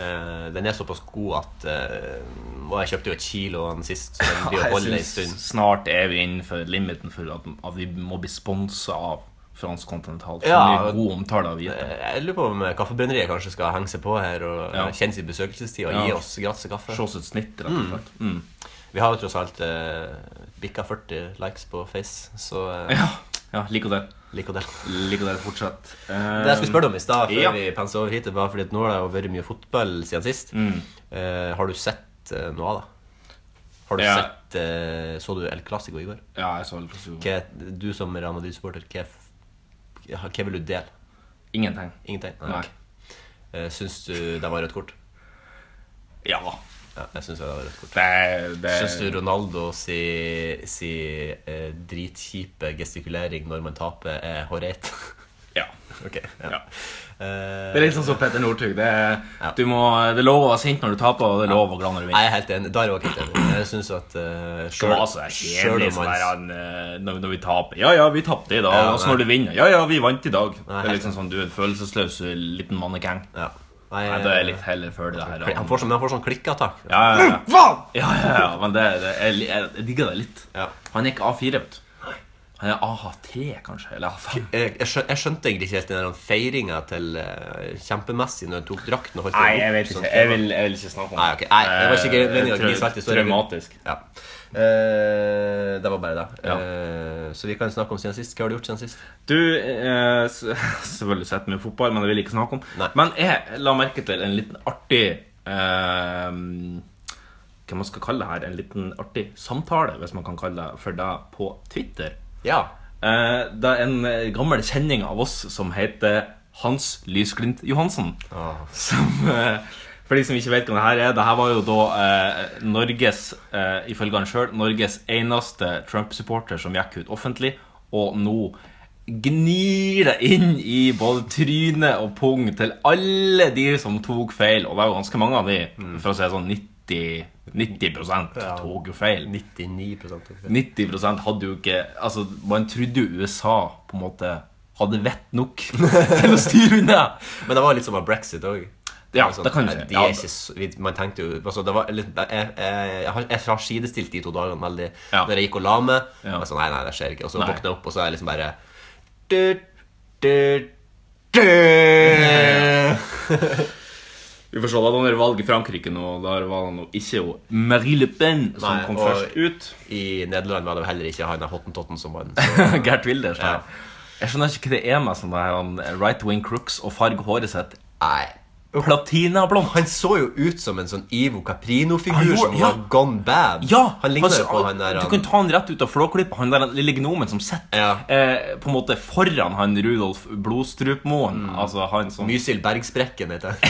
S3: Eh, den er såpass god at eh, Og jeg kjøpte jo et kilo av den sist, så den blir å holde en
S2: Jeg
S3: stund.
S2: synes snart er vi innenfor limiten for at, at vi må bli sponsa av fransk kontinental. Så
S3: Ja,
S2: mye
S3: og-
S2: god omtale av hvite.
S3: Eh, Jeg lurer på om Kaffebrenneriet kanskje skal henge seg på her og eh,
S2: Ja.
S3: kjenne sin besøkelsestid og
S2: Ja.
S3: gi oss gratis kaffe.
S2: Mm. Se oss et snitt, rett og slett. Mm.
S3: Vi har jo tross alt eh, bikka 40 likes på Face, så eh,
S2: Ja, ja liker det.
S3: liker det.
S2: Liker det fortsatt.
S3: Det jeg skulle spørre deg om i stad, før
S2: ja.
S3: vi pensa over hit, var fordi at nå har det jo vært mye fotball siden sist.
S2: Mm.
S3: Eh, har du sett eh, noe av det? Har du
S2: Ja.
S3: sett eh, Så du El Clásico i går?
S2: Eh, Ja, jeg så Elclasio.
S3: Hva, du som Real Madrid-supporter, hva, f- hva hva vil du dele?
S2: Ingenting.
S3: Ingenting?
S2: Nei.
S3: ok. Eh, syns du det var rødt kort?
S2: Ja.
S3: Ja, jeg syns det var rødt kort.
S2: Det, det
S3: Syns du Ronaldo si, si eh, dritkjipe gestikulering når man taper, er hårreit?
S2: Ja.
S3: ok.
S2: Ja.
S3: Eh,
S2: Det er litt sånn som Petter Northug. Det, er-
S3: Ja.
S2: du må, det er lov å være sint når du taper, og det er lov å glane når du vinner.
S3: Jeg er helt enig. Der er jeg helt enig. Jeg synes at
S2: Det
S3: eh, selv-
S2: var så
S3: selv
S2: kjedelig
S3: om
S2: sånn
S3: man-
S2: der han, eh, når, når vi taper. Ja, ja, vi tapte i dag.
S3: Ja,
S2: og så
S3: nei.
S2: når du vinner. Ja, ja, vi vant i dag. det er
S3: helt
S2: liksom sånn, Du er en følelsesløs eh, liten mannekeng.
S3: ja. Nei,
S2: Nei, det er litt heller før det her.
S3: Kli- Han får sånn, men han får sånn klikkeattakk.
S2: Ja, ja, ja. ja, ja, ja. Men det, det, jeg, li- jeg, jeg digger det litt.
S3: Ja.
S2: Han er ikke A4, vet du. Han er AH3, kanskje. Eller A5.
S3: Jeg, jeg, skjø- jeg skjønte egentlig ikke helt den der feiringa til eh, kjempemessig når han tok drakten. og holdt
S2: Nei,
S3: den opp sånn
S2: jeg vet
S3: som
S2: ikke.
S3: tema.
S2: Jeg vil, jeg vil ikke snakke om det.
S3: Nei, ok. Nei, det var ikke
S2: Eh,
S3: meningen å
S2: trau-
S3: gnise alt i storyen.
S2: Traumatisk.
S3: Ja. Eh, det var bare det.
S2: Ja.
S3: Eh, så vi kan snakke om siden sist. Hva har du gjort siden sist?
S2: Du, eh, s- selvfølgelig sett mye fotball, men det vil jeg ikke snakke om.
S3: Nei.
S2: Men jeg la merke til en liten artig eh, Hva man skal kalle det her? En liten artig samtale, hvis man kan kalle det for det, på Twitter.
S3: Ja.
S2: Eh, det er en eh, gammel kjenning av oss som heter Hans Lysglimt Johansen.
S3: Ah.
S2: Som, eh, for de som ikke vet hva det her er, det her var jo da eh, Norges, eh, ifølge han sjøl, Norges eneste Trump-supporter som gikk ut offentlig, og nå gnir det inn i både tryne og pung til alle de som tok feil, og det er jo ganske mange av de, for å si det sånn 90, 90
S3: Ja.
S2: tok jo feil.
S3: 99 av det.
S2: 90 hadde jo ikke Altså, Man trodde jo USA på en måte hadde vett nok til å styre unna.
S3: Men det var litt som med brexit òg.
S2: Ja, det kan du si.
S3: sånn, eh, De
S2: Ja,
S3: er
S2: det-
S3: ikke så, vi- man tenkte jo altså, det var litt, jeg, jeg, jeg, har, jeg har sidestilt de to dagene veldig.
S2: Ja.
S3: Når jeg gikk og la meg,
S2: Ja.
S3: jeg sa nei, nei, det skjer ikke. Og så
S2: Nei.
S3: våkna jeg opp, og så er jeg liksom bare du, du, du.
S2: Vi får se, da var det valg i Frankrike nå, og der var det nå ikke jo Marie Le Pen som
S3: Nei,
S2: kom
S3: og-
S2: først ut.
S3: I Nederland var det jo heller ikke han der hottentotten som sånn- vant. så-
S2: Gert Wilders.
S3: Ja.
S2: Ja. Jeg skjønner ikke hva det er med sånne her, han right wing crooks og farg håret sitt.
S3: Nei.
S2: Platinablondt.
S3: Han så jo ut som en sånn Ivo
S2: Han
S3: Caprino-figur
S2: gjorde-
S3: som
S2: Ah, ja.
S3: var gone bad.
S2: Ja!
S3: han ligner jo
S2: altså,
S3: på han der
S2: Du
S3: han-
S2: kan ta han rett ut av flåklippa. Han der lille gnomen som sitter
S3: Ja.
S2: eh, på en måte foran han Rudolf Blodstrupmoen. Altså han som
S3: Mysil Bergsprekken, heter han.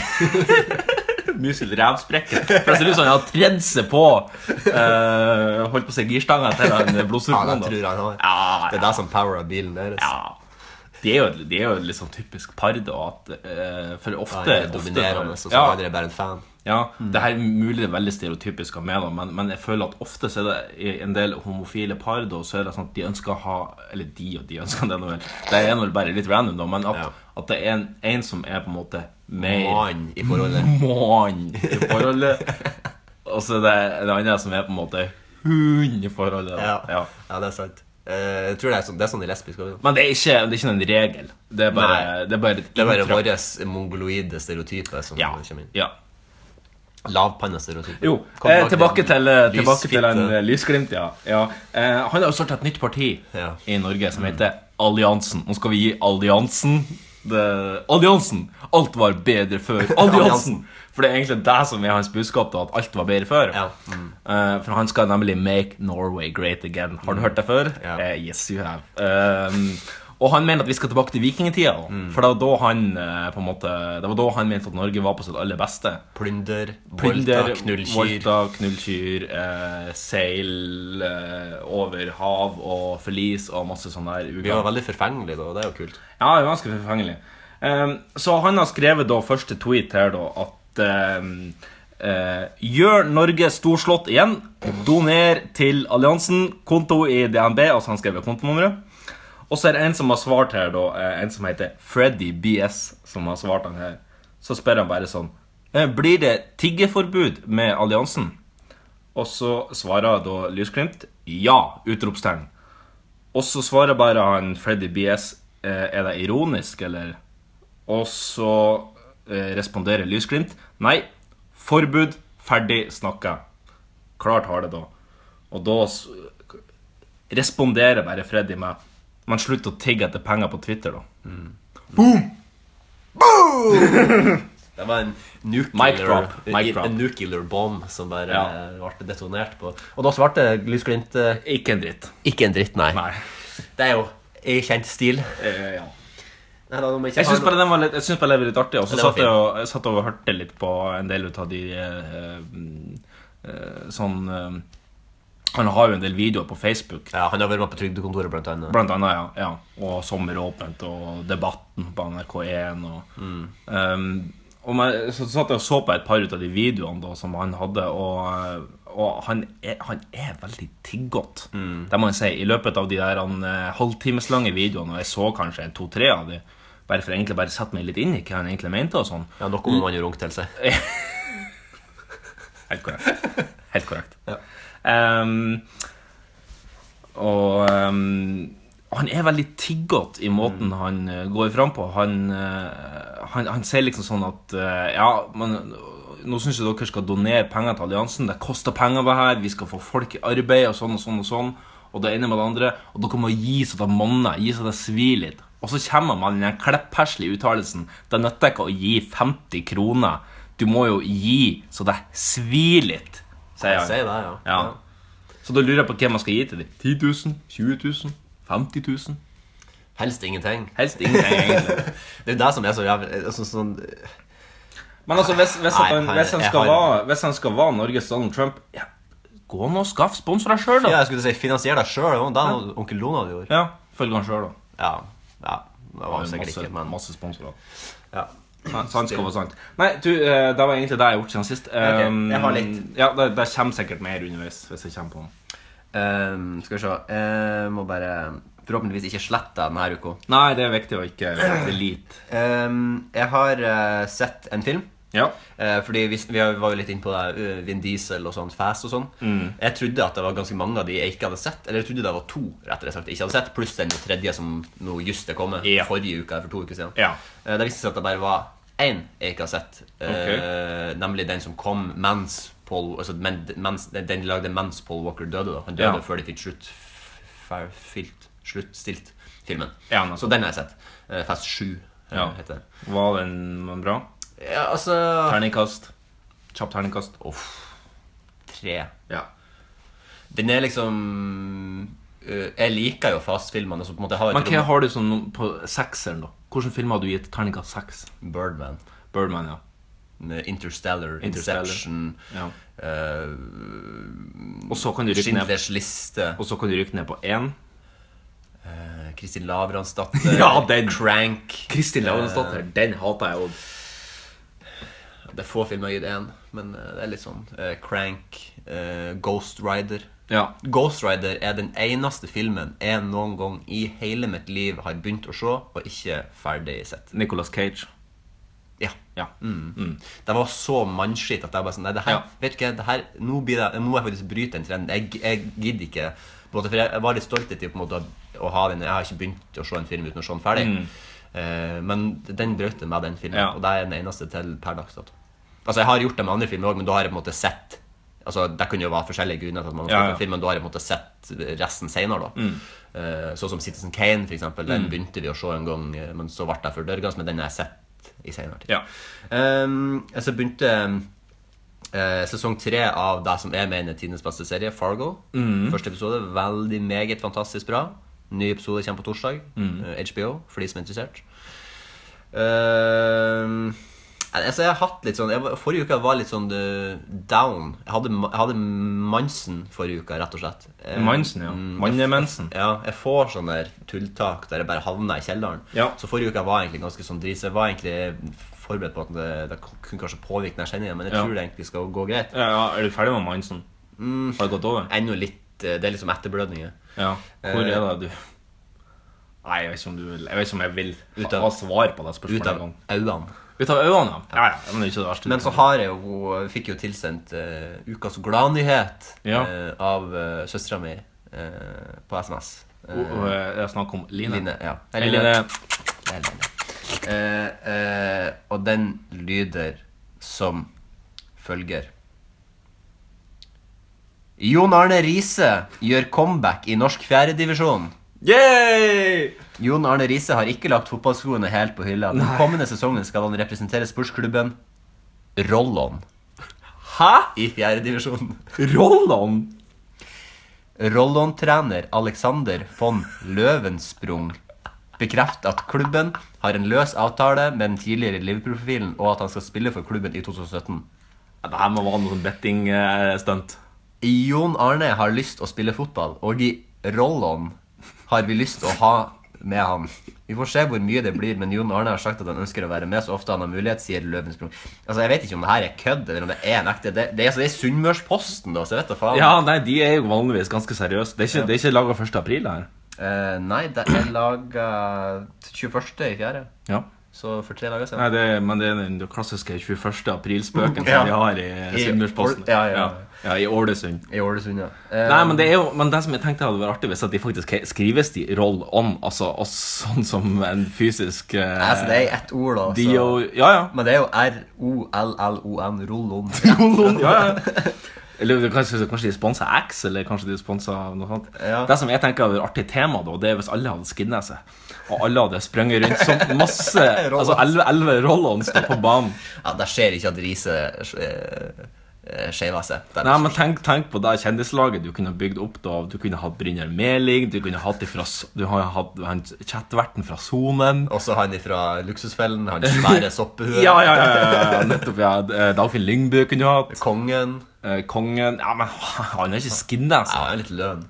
S2: Musil Rævsprekken. For det ser ut som han har tredd seg på eh, Holdt på å si girstanga til han
S3: Ja,
S2: blodstrupen.
S3: det tror jeg han har.
S2: Ja,
S3: Det er det som powerer bilen deres.
S2: ja. Det er jo, et- det er jo et litt sånn typisk par, da. At, eh, for ofte
S3: Han er
S2: ofte-
S3: dominerende, og så
S2: ja,
S3: andre er Mm. bare en fan.
S2: Ja, det her er mulig det er veldig stereotypisk av meg, da, men, men jeg føler at ofte så er det i en del homofile par da, så er det sånn at de ønsker å ha Eller de og de ønsker det, er nå vel. Det er nå vel bare litt random, da, men at,
S3: Ja.
S2: at det er en, en som er på en måte mer
S3: Mann i forholdet.
S2: Mm. mann i forholdet, og så er det en annen som er på en måte hund i forholdet.
S3: Ja.
S2: da. Ja.
S3: ja, det er sant. Eh, jeg tror det er sånn, det er sånn i lesbisk også.
S2: Men det er ikke, det er ikke noen regel. Det er bare,
S3: Nei.
S2: det er bare et
S3: Det er bare
S2: inntrykk.
S3: vår mongoloide stereotype som
S2: Ja.
S3: kommer inn.
S2: ja.
S3: Lavpannestereotype.
S2: Jo,
S3: Kom
S2: eh,
S3: bak
S2: tilbake
S3: til
S2: til, eh, tilbake til en
S3: lysfitte.
S2: eh, lysglimt, ja. ja. Eh, han har jo startet et nytt parti
S3: Ja.
S2: i Norge som heter Alliansen. Nå skal vi gi Alliansen det, Alliansen! Alt var bedre før. Alliansen! For det er egentlig det som er hans budskap, da, at alt var bedre før.
S3: Ja.
S2: Eh, for han skal nemlig make Norway great again. Har du hørt det før?
S3: Mm. Ja.
S2: Eh, yes, you have. Ehm, og han mener at vi skal tilbake til vikingtida. da.
S3: Mm.
S2: For det var, da han, eh, på en måte, det var da han mente at Norge var på sitt aller beste.
S3: Plunder,
S2: Plunder,
S3: voldta, knullkyr.
S2: voldta, knullkyr, eh, seil eh, over hav og forlis og masse sånn der
S3: Vi var
S2: ugagn.
S3: veldig forfengelige da, og det er jo kult.
S2: Ja, det var ganske forfengelig. Ehm, så han har skrevet da første tweet her da at ehm, eh, Gjør Norge storslått igjen. Doner til alliansen. Konto i DNB. Altså han skrev kontonummeret. Og så er det en som har svart her, da. eh, En som heter Freddy BS, som har svart han her. Så spør han bare sånn eh, Blir det tiggeforbud med alliansen? Og så svarer da Lysglimt ja! Utropstegn. Og så svarer bare han Freddy BS eh, Er det ironisk, eller? Og så eh, responderer Lysglimt Nei, forbud, ferdig, snakka Klart har det da Og da s- responderer bare Freddy med Man slutter å tigge etter penger på Twitter, da. Boom!
S3: Det var en
S2: Mic
S3: nuclear,
S2: drop, mic drop.
S3: En nuclear bomb som bare
S2: Ja.
S3: eh, ble detonert på. Og da svarte Lysglimt eh,
S2: Ikke en dritt.
S3: ikke en dritt, nei.
S2: Nei.
S3: Det er jo i kjent stil.
S2: Eh, ja.
S3: Nei, da, når man ikke
S2: Jeg
S3: har
S2: syns bare
S3: noe-
S2: den var litt, jeg synes bare det var litt artig. Og så
S3: Det var
S2: satt jeg og, jeg satt og hørte litt på en del ut av de eh, mm, eh, sånn eh, Han har jo en del videoer på Facebook,
S3: ja, Han har vært med på Trygdekontoret, blant annet.
S2: blant annet. Ja, ja, og Sommeråpent og Debatten på NRK1. Og, um, og man, så satt jeg og så på et par ut av de videoene da, som han hadde, og, og han, er, han er veldig tiggete. Det må jeg si. I løpet av de der han, eh, halvtimeslange videoene, og jeg så kanskje en to-tre av de, bare for egentlig bare sette meg litt inn i hva han egentlig mente og sånn.
S3: Ja, Noe må man jo runke til seg.
S2: Helt korrekt. Helt korrekt. Ehm, og ehm, han er veldig tiggete i måten
S3: Mm.
S2: han eh, går fram på. Han, eh, han, han sier liksom sånn at eh, Ja, men eh, nå syns jeg dere skal donere penger til alliansen. Det koster penger, det her. Vi skal få folk i arbeid, og sånn og sånn og sånn. Og det ene med det andre. Og dere må gi så det monner. Gi så det svir litt. Og så kommer han med den der kleppheslige uttalelsen. Det nytter ikke å gi 50 kroner. Du må jo gi så det svir litt, sier
S3: Jeg
S2: han.
S3: sier det, ja.
S2: Ja. Så da lurer jeg på hva man skal gi til dem. 10 000? 20 000? 50 000?
S3: Helst ingenting.
S2: Helst ingenting, egentlig.
S3: Det er jo det som er så jævlig altså, sånn,
S2: Men altså, hvis, hvis, at han,
S3: Nei,
S2: hvis, han,
S3: jeg
S2: skal
S3: har-
S2: være, hvis han skal være Norges Donald Trump ja, Gå nå og skaff spons fra deg sjøl,
S3: Ja,
S2: da.
S3: jeg skulle si finansier deg sjøl. Det er noe onkel Donald gjorde.
S2: Ja, Følg han sjøl, da.
S3: Ja. ja. Det var jo
S2: Han har
S3: sikkert
S2: masse,
S3: ikke, men Mm.
S2: masse sponsorer.
S3: ja.
S2: Nei, sant skal være sant. Nei, du, eh, det var egentlig det jeg har gjort siden sist. Um,
S3: jeg har litt.
S2: Ja, det, det kommer sikkert mer underveis. hvis jeg kommer på noe.
S3: Ehm, Skal vi se Jeg må bare forhåpentligvis ikke slette deg denne uka.
S2: Nei, det er viktig å ikke delete.
S3: Ehm, jeg har eh, sett en film.
S2: Ja.
S3: Eh, fordi vi, vi var jo litt inne på det, eh, Vin Diesel og sånn, Fast og sånn.
S2: Mm.
S3: Jeg trodde at det var ganske mange av de jeg ikke hadde sett. Eller jeg trodde det var to rettere sagt jeg ikke hadde sett, pluss den tredje som nå just er kommet.
S2: Ja.
S3: Forrige uke eller for to uker siden.
S2: Ja.
S3: Eh, det viste seg at det bare var én jeg ikke har sett. eh, Nemlig den som kom mens Paul altså, men, mens, Den de lagde mens Paul Walker døde. da Han
S2: Ja.
S3: døde før de fikk slutt fer- filt, sluttstilt filmen.
S2: Ja, nettopp.
S3: Så den har jeg sett. Eh, Fast 7 eh,
S2: Ja.
S3: heter den.
S2: Var den bra?
S3: Ja, altså
S2: Terningkast. Kjapt terningkast.
S3: Uff. Tre.
S2: Ja.
S3: Den er liksom øh, Jeg liker jo Fast-filmene. altså på en måte har jeg
S2: Men
S3: et
S2: hva
S3: rom-
S2: har du som nom- på sekseren, da? Hvilken film har du gitt terningkast seks?
S3: Birdman,
S2: Birdman, ja.
S3: med Interstellar,
S2: Interstellar.
S3: Inception,
S2: ja. Eh,
S3: øh,
S2: Og så kan du rykke ned
S3: Schindlers liste,
S2: Og så kan du rykke ned på én.
S3: øh, Kristin Lavransdatter,
S2: Ja, den.
S3: Crank
S2: Kristin Lavransdatter. Den hater jeg òg.
S3: Det er få filmer jeg har gitt én, men øh, det er litt sånn. øh, Crank, øh, Ghost Rider.
S2: Ja.
S3: Ghost Rider er den eneste filmen jeg noen gang i hele mitt liv har begynt å se, og ikke ferdig sett.
S2: Nicolas Cage. Mm.
S3: Ja
S2: Ja.
S3: Det var så mannskitt at jeg bare sånn Nei, det her,
S2: Ja.
S3: vet du hva, det her, nå, blir det, nå må jeg faktisk bryte den trenden. Jeg, jeg gidder ikke. På en måte, for jeg, jeg var litt stolt til på en måte, å, å ha den. Jeg har ikke begynt å se en film uten å se den ferdig. Eh, men den brøt den med den filmen,
S2: Mm. Ja.
S3: og det er den eneste til per dags dato. Altså, jeg har gjort det med andre filmer òg, men da har jeg på en måte sett Altså, Det kunne jo være forskjellige grunner til at man har
S2: Ja, Mm.
S3: sett
S2: ja.
S3: en film, men da har jeg på en måte sett resten senere, da. Eh, sånn som Citizen Kane, for eksempel.
S2: Mm.
S3: Den begynte vi å se en gang, eh, men så ble jeg for dørgans, men den har jeg sett i senere tid.
S2: Ja.
S3: Um, så begynte eh, sesong tre av det som jeg mener er tidenes beste serie, Fargo. Første episode, veldig meget fantastisk bra. Ny episode kommer på torsdag. eh, HBO, for de som er interessert. Um, altså jeg har hatt litt sånn jeg, var- Forrige uke var jeg litt sånn eh, down. Jeg hadde, ma- jeg hadde Mansen forrige uke, rett og slett. Eh,
S2: Mansen, ja.
S3: mm,
S2: Mannemensen.
S3: ja, jeg får sånn der tulltak der jeg bare havner i kjelleren.
S2: Ja.
S3: Så forrige uke var jeg egentlig ganske sånn drit, så jeg var egentlig forberedt på at det, det kunne kanskje påvirke den kjenningen, men jeg
S2: Ja.
S3: tror det egentlig skal gå greit.
S2: Ja, ja, Er du ferdig med Manson? Har det gått over?
S3: Ennå litt eh, Det er liksom etterblødninger.
S2: Ja. Hvor
S3: Eh,
S2: er det du Nei, jeg vet ikke om du vil Jeg vet ikke om jeg vil
S3: Ut
S2: ha
S3: av-
S2: ha svar på det spørsmålet
S3: Ut av
S2: en gang.
S3: øynene.
S2: Ut av øynene, ja. ja. ja, Men det er ikke det verste.
S3: Men så har jeg jo Fikk jo tilsendt eh, ukas gladnyhet
S2: Ja.
S3: eh, av uh, søstera mi eh, på SMS. Eh,
S2: Og- og, eh, Det er snakk om Line.
S3: Line. Ja. Hei,
S2: Hei, Line.
S3: Det er Line. Eh, eh, og den lyder som følger. Jon Arne Riise gjør comeback i norsk fjerdedivisjon.
S2: Yay!
S3: Jon Arne Riise har ikke lagt fotballskoene helt på hylla. Den
S2: Nei.
S3: kommende sesongen skal han representere sportsklubben Rollon
S2: Hæ?
S3: i fjerdedivisjon.
S2: Rollon?
S3: Rollon-trener Alexander von Løvensprung bekrefter at klubben har en løs avtale med den tidligere Liverpool-profilen, og at han skal spille for klubben i 2017.
S2: Det her må være noe sånn bettingstunt.
S3: Jon Arne har lyst å spille fotball, og i Rollon har vi lyst å ha med han. Vi får se hvor mye det blir, men Jon Arne har sagt at han ønsker å være med så ofte han har mulighet, sier Løvensprung. Altså, Jeg vet ikke om det her er kødd, eller om det er en ekte Det, det er, altså, det er Sunnmørsposten, da, så jeg vet da faen.
S2: Ja, nei, de er jo vanligvis ganske seriøse. Det er ikke, det er ikke laga 1. april, det her.
S3: Eh, nei, det er laga 21. i fjerde.
S2: Ja.
S3: Så for tre dager
S2: Nei,
S3: siden.
S2: det, men det er den klassiske 21. april-spøken
S3: Ja.
S2: som de har
S3: I
S2: i Sunnmørsposten.
S3: Ål- ja, ja, ja.
S2: ja, I Ålesund.
S3: I Ålesund, ja. Eh,
S2: Nei, men det er jo Men det som jeg tenkte hadde vært artig, hvis at de faktisk he- skrives de roll on, altså og sånn som en fysisk eh,
S3: altså, det er i ett ord, da.
S2: de
S3: så-
S2: jo, altså- Ja, ja.
S3: Men det er jo R-O-L-L-O-N, Rollon.
S2: Kolon, ja, ja. Eller det- kanskje, kanskje de sponser X, eller kanskje de sponser noe sånt.
S3: Ja.
S2: Det som jeg tenker er et artig tema, da, det er hvis alle hadde skinnet seg, og alle hadde sprunget rundt som masse
S3: Roll-ons.
S2: Altså elleve- elleve rollene står på banen.
S3: Ja, der skjer ikke at Riise eh, eh, skeiver seg. Der.
S2: Nei, men tenk, tenk på det kjendislaget du kunne bygd opp. da Du kunne hatt Brynjar Meling, du kunne hatt ifra, S- Du har jo hatt han chatverten fra Sonen.
S3: Også han fra Luksusfellen, han svære soppehuet.
S2: Ja, ja, ja, ja, ja, nettopp. ja Eh, Dagfinn Lyngbø kunne du hatt.
S3: Kongen.
S2: Eh, Kongen Ja, men han er ikke skinnet,
S3: Ja,
S2: altså.
S3: han er litt løn.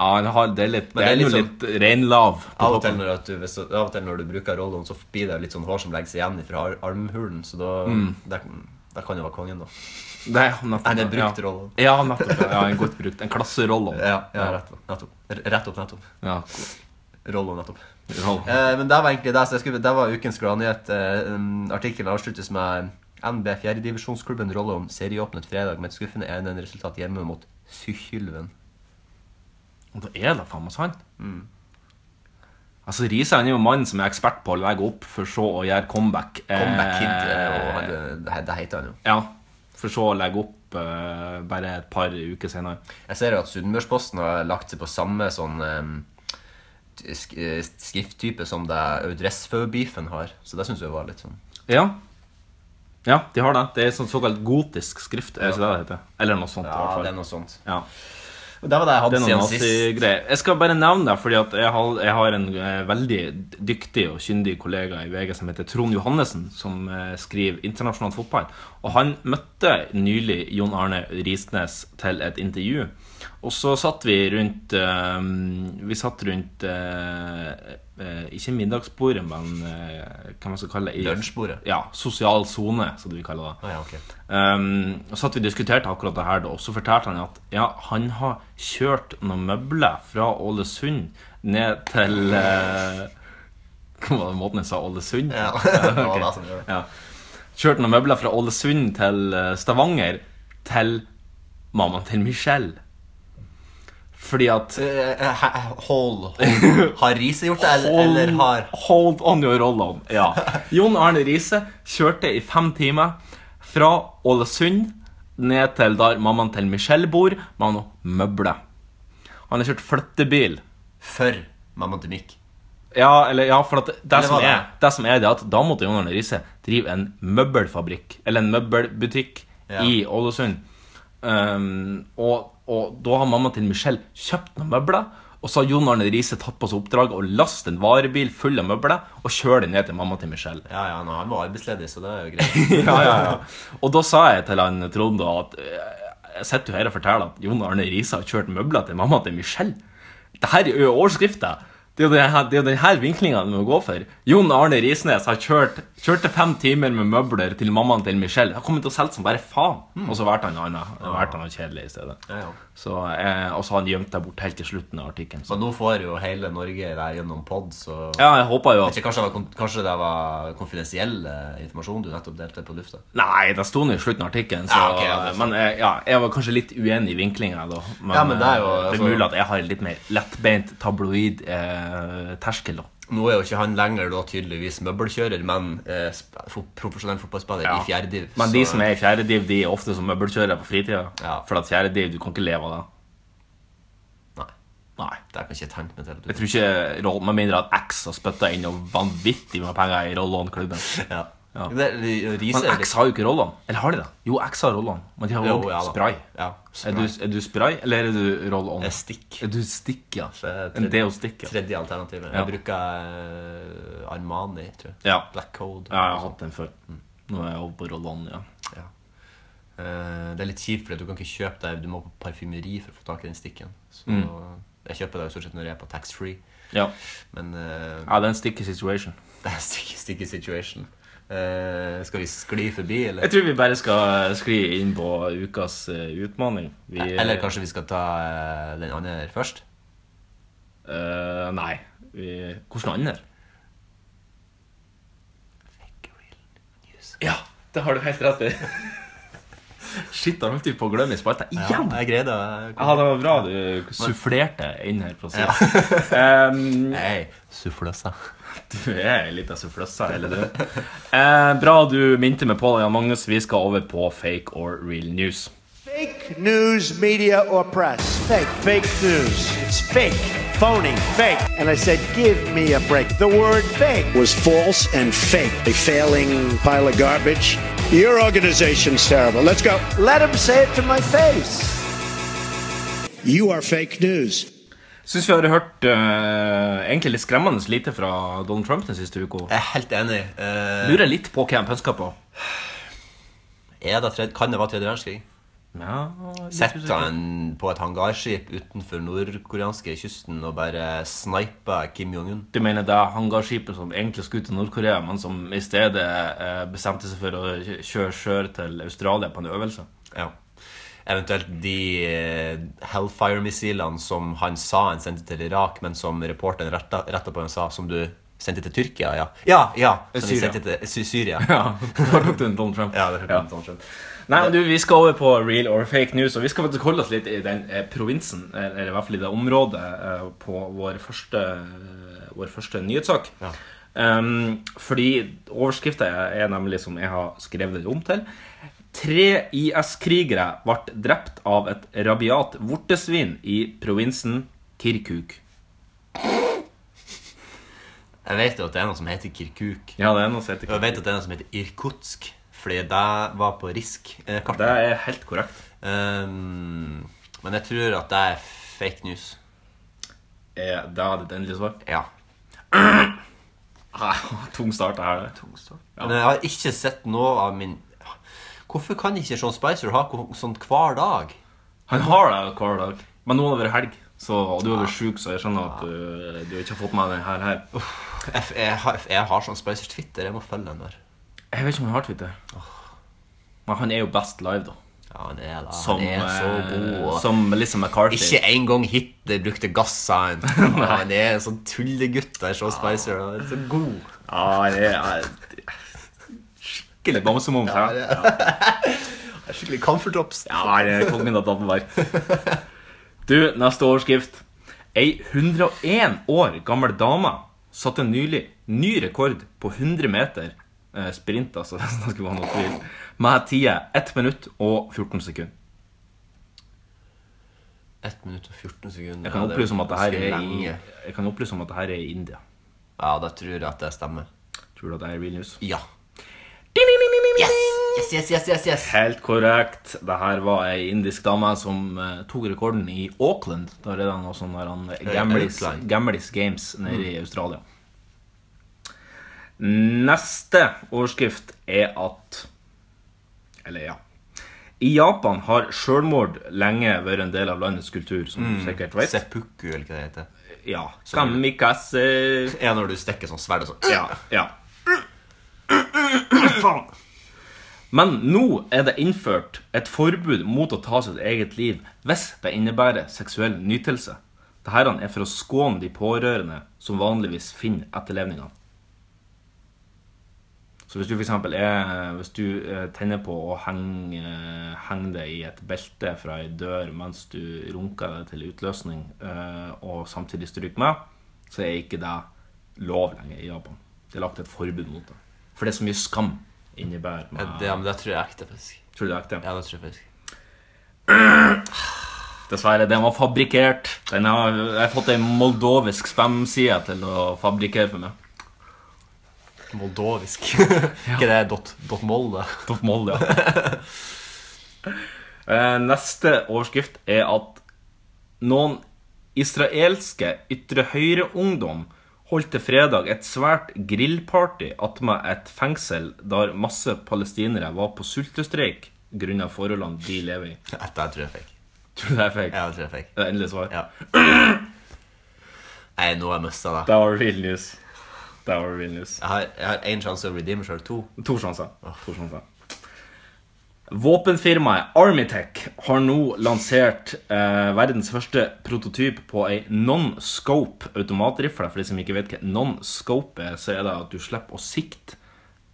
S2: Ja, han har, det er litt, det
S3: Men
S2: er
S3: det er
S2: jo
S3: litt
S2: litt sånn reinlav. på
S3: Av og,
S2: toppen.
S3: til når at du, hvis, du- av og til når du bruker rollen, så blir det litt sånn hår som legger seg igjen fra ar- armhulen, så da
S2: Mm.
S3: der, der kan det være kongen, da.
S2: Nei, nettopp,
S3: Nei, det er brukt
S2: ja.
S3: rollen.
S2: Ja, nettopp. Ja, en godt brukt. En klasserolle.
S3: Ja, ja rett, opp, nettopp. R- Rett opp, nettopp.
S2: Ja.
S3: Rollen, nettopp.
S2: rolle.
S3: Eh, men det var egentlig det. Så jeg skulle, det var ukens gladnyhet. Eh, um, Artikkelen avsluttes med eh, NB 4.-divisjonsklubben Rollon serieåpnet fredag med et skuffende 1-1-resultat hjemme mot Sykkylven.
S2: Og da er det faen meg sant.
S3: Mm.
S2: Altså, Riise han er jo mannen som er ekspert på å legge opp for så å gjøre comeback.
S3: Comeback hit, eh, og
S2: Eh,
S3: han, eh, det, det heter han jo.
S2: Ja, for så å legge opp eh, bare et par uker senere.
S3: Jeg ser jo at Sunnmørsposten har lagt seg på samme sånn eh, t- sk- eh, skrifttype som det Audressfø-beefen har. Så det syns jeg var litt sånn
S2: Ja. Ja, de har det. Det er sånn såkalt gotisk skrift. Er det ikke det det heter? Eller noe sånt. i
S3: Ja,
S2: hvert fall.
S3: det er noe sånt.
S2: Ja.
S3: Og det var det jeg
S2: Det
S3: hadde
S2: er noen
S3: siden sist.
S2: nazigreier. Jeg skal bare nevne det, fordi at jeg har, jeg har en eh, veldig dyktig og kyndig kollega i VG som heter Trond Johannessen, som eh, skriver internasjonal fotball. Og han møtte nylig Jon Arne Risnes til et intervju. Og så satt vi rundt eh, Vi satt rundt eh, eh, Ikke middagsbordet, men eh, hva man skal kalle det? i-
S3: Lunsjbordet.
S2: Ja. Sosial sone, som vi kaller det.
S3: Å ja, ok.
S2: Um, og så at vi diskuterte akkurat det her da, og så fortalte han at ja, han har kjørt noen møbler fra Ålesund ned til eh, Hva var det måten jeg sa Ålesund?
S3: Ja,
S2: på?
S3: det var
S2: ok.
S3: det som gjorde det.
S2: Ja. Kjørt noen møbler fra Ålesund til eh, Stavanger til mammaen til Michelle. Fordi at
S3: Eh, eh, hæ- Hold, hold. Har Riise gjort det, eller, eller har
S2: Hold on your roll-on. Ja. Jon Arne Riise kjørte i fem timer fra Ålesund ned til der mammaen til Michelle bor, med noen møbler. Han har kjørt flyttebil.
S3: For mamma til Mikk.
S2: Ja, eller, ja for at det,
S3: Eller
S2: som
S3: var det?
S2: er, det som er det at da måtte Jon Arne Riise drive en møbelfabrikk, eller en møbelbutikk,
S3: Ja.
S2: i Ålesund. Um, og, og da har mamma til Michelle kjøpt noen møbler, og så har Jon Arne Riise tatt på seg oppdraget å laste en varebil full av møbler og kjøre den ned til mamma til Michelle.
S3: Ja, ja, nå, han var arbeidsledig, så det er jo greit.
S2: ja, ja, ja. Og da sa jeg til han Trond da at eh, jeg sitter jo her og forteller at Jon Arne Riise har kjørt møbler til mamma til Michelle. Det her er jo overskrifta. Det er jo denne, det er jo denne vinklinga vi må gå for. Jon Arne Risnes har kjørt kjørte fem timer med møbler til mammaen til Michelle. Har kommet og solgt som bare faen. Og så valgte han noe annet. Valgte han noe kjedelig i stedet.
S3: Hmm. Ja, ja.
S2: Så, eh, og så har han gjemt deg bort helt til slutten av artikkelen.
S3: Så nå får jo hele Norge det gjennom pod, så
S2: Ja, jeg håper jo at
S3: Ikke, kanskje, det var, kon- kanskje det var konfidensiell eh, informasjon du nettopp delte på lufta?
S2: Nei, det sto nå i slutten av artikkelen, så
S3: Ja, ok, ja, det er sant.
S2: Men eh, ja, jeg var kanskje litt uenig i vinklinga, da. Men,
S3: Ja, men det er jo-
S2: eh, det
S3: altså-
S2: er mulig at jeg har en litt mer lettbeint tabloid eh, terskel, da.
S3: Nå er jo ikke han lenger da tydeligvis møbelkjører, men eh, sp- fo- profesjonell fotballspiller
S2: Ja.
S3: i fjerdediv.
S2: Men de som er i fjerde div, de er ofte som møbelkjørere på fritida.
S3: Ja.
S2: For at fjerde div, du kan ikke leve av det.
S3: Nei,
S2: Nei.
S3: det kan ikke jeg tenke meg til.
S2: Jeg tror ikke Roll- Med mindre at X har spytta inn noe vanvittig med penger i Rollon-klubben.
S3: Ja.
S2: Ja.
S3: Det, Riise
S2: Men
S3: er
S2: X
S3: litt
S2: har jo ikke rollene. Eller har de det? Jo, X har rollene, men de har jo
S3: Jo, ja da.
S2: også spray.
S3: Ja,
S2: Er, du, er du spray, eller er du roll on?
S3: Jeg er stikk.
S2: Er du stikk, ja.
S3: Så jeg er
S2: En
S3: tredje-
S2: deo-stikk, ja.
S3: Tredje alternativet.
S2: Ja.
S3: Jeg bruker eh, Armani, tror jeg.
S2: Ja.
S3: Black Code.
S2: ja. Jeg har hatt den før. Mm. Nå er jeg over på roll on, ja.
S3: Ja. Eh, det er litt kjipt, for du kan ikke kjøpe deg Du må på parfymeri for å få tak i den stikken. Så jeg kjøper det jo stort sett når jeg er på tax-free.
S2: Ja,
S3: Men eh,
S2: ja det er en sticky situation.
S3: det er sticky, sticky situation. Eh, skal vi skli forbi, eller?
S2: Jeg tror vi bare skal eh, skli inn på ukas eh, utfordring. Vi,
S3: Eller kanskje vi skal ta eh, den andre først?
S2: eh, Nei. Vi, hvordan andre? Ja, det har du helt rett i. Shit, har holdt vi på å glemme i spalta igjen.
S3: jeg greide det.
S2: Ja, det var bra du sufflerte inn her, Um, for å si det. Em,
S3: Nei, suffløsa.
S2: du er litt av suffløssa, eller du? Eh, bra du minte meg på det, Jan Magnus. Vi skal over på fake or real news.
S6: Fake news, media, or press. Fake. Fake news. It's fake. Phony. Fake. And I said, give me a break. The word fake was false and fake. A failing pile of garbage. Your organization's terrible. Let's go. Let him say it to my face. You are fake news.
S2: Syns vi har hørt eh, egentlig litt skremmende lite fra Donald Trump den siste uka.
S3: Jeg er helt enig. Eh,
S2: Lurer litt på hva han pønsker på.
S3: er det tredje, kan det være tredje verdenskrig?
S2: Ja, litt
S3: Setter
S2: usikker.
S3: han på et hangarskip utenfor nordkoreanske kysten og bare sniper Kim Jong-un?
S2: Du mener det er hangarskipet som egentlig skulle til Nord-Korea, men som i stedet eh, bestemte seg for å kjø- kjøre sjøl til Australia på en øvelse?
S3: Ja. Eventuelt de eh, Hellfire-missilene som han sa han sendte til Irak, men som reporteren retta, retta på han sa som du sendte til Tyrkia, ja. Ja, ja, som de
S2: Syria.
S3: sendte til Sy- Syria.
S2: Ja, da tok du en Donald Trump.
S3: Ja, det hørte jeg om Donald Trump.
S2: Nei, men du, Vi skal over på real or fake news, og vi skal faktisk holde oss litt i den eh, provinsen, eh, eller i hvert fall i det området, eh, på vår første, eh, vår første nyhetssak.
S3: Ja.
S2: Ehm, fordi overskrifta er nemlig, som jeg har skrevet det om til Tre IS-krigere ble drept av et rabiat vortesvin i provinsen Kirkuk.
S3: Jeg vet jo at det er noe som heter Kirkuk.
S2: Ja, det er noe som heter
S3: Og jeg
S2: Kirkuk.
S3: vet at det er noe som heter Irkutsk, fordi det var på RISK-kartet.
S2: Det er helt korrekt.
S3: Um, men jeg tror at det er fake news.
S2: Eh, Det er ditt endelige svar.
S3: Ja.
S2: Ah, Tung start er det.
S3: Men jeg har ikke sett noe av min Hvorfor kan ikke Sean Spicer ha ko- sånt hver dag?
S2: Han har det hver dag. Men nå har det vært helg, så, og du har vært sjuk, så jeg skjønner at eh, du, du ikke har fått med deg her, her.
S3: Jeg, jeg, har- jeg E har Sean Spicers Twitter. Jeg må følge den der.
S2: Jeg vet ikke om han har Twitter. Men han er jo best live, da.
S3: Ja, han er da.
S2: Som,
S3: han er så
S2: eh,
S3: god. og-
S2: som Melissa McCarthy.
S3: Ikke engang Hitler brukte gassan. han er en sånn tullegutt der, Sean Spicer. Han er så god.
S2: Ja, han er, er skikkelig bamsemums. Ja, ja.
S3: Han er Skikkelig comfortops.
S2: han er kongen av Danmark. Du, neste overskrift. Ei 101 år gammel dame satte nylig ny rekord på 100 meter eh, sprint, altså, hvis det skulle være noe tvil, med tida 1 minutt og 14 sekunder.
S3: 1 minutt og 14 sekunder.
S2: Jeg kan,
S3: Ja, det er
S2: opplyse om at det her er i,
S3: lenge.
S2: jeg kan opplyse om at det her er i India.
S3: Ja, da tror jeg at det stemmer.
S2: Tror du at det er real news?
S3: Ja. Yes, yes, yes, yes, yes.
S2: Helt korrekt. Det her var ei indisk dame som eh, tok rekorden i Auckland. Da er det noe sånn der han, Gamlis,
S3: Eh, Auckland. Mm.
S2: Gamlis Games nede i Australia. Neste overskrift er at Eller, ja. I Japan har sjølmord lenge vært en del av landets kultur, som
S3: Mm.
S2: du sikkert vet.
S3: Seppuku, eller hva det heter.
S2: Ja. Kamikaze
S3: Ja, når du stikker sånn sverd og sånn.
S2: Ja, ja. Men nå er det innført et forbud mot å ta sitt eget liv hvis det innebærer seksuell nytelse. Dette er for å skåne de pårørende som vanligvis finner etterlevningene. Så hvis du for eksempel er, hvis du eh, tenner på å henge, eh, henge det i et belte fra ei dør mens du runker det til utløsning, eh, og samtidig stryker med, så er ikke det lov lenger i Japan. Det er lagt et forbud mot det. For det er så mye skam innebærer med
S3: Ja, det, ja, men det tror jeg er ekte, faktisk.
S2: Tror du det er ekte?
S3: Ja, det tror jeg faktisk.
S2: Dessverre, den var fabrikkert. Den har, jeg har fått ei moldovisk spam-side til å fabrikkere for meg.
S3: Moldovisk. Ikke det dot, dot mol, det?
S2: Topp Molde, ja. Eh, Neste overskrift er at noen israelske ytre høyre-ungdom holdt til fredag et svært grillparty attmed et fengsel der masse palestinere var på sultestreik grunnet forholdene de lever i.
S3: Dette her tror jeg er fake.
S2: Tror du det er fake?
S3: Ja, det tror jeg er fake.
S2: Det er endelig svar.
S3: Ja. Nei, nå har jeg mista det.
S2: Det var real news. Det var real news.
S3: Jeg har- Jeg har én sjanse å redeem sjøl, to.
S2: To sjanser. To sjanser. Våpenfirmaet Armitech har nå lansert eh, verdens første prototyp på ei non-scope automatrifle. For de som ikke vet hva non-scope er, så er det at du slipper å sikte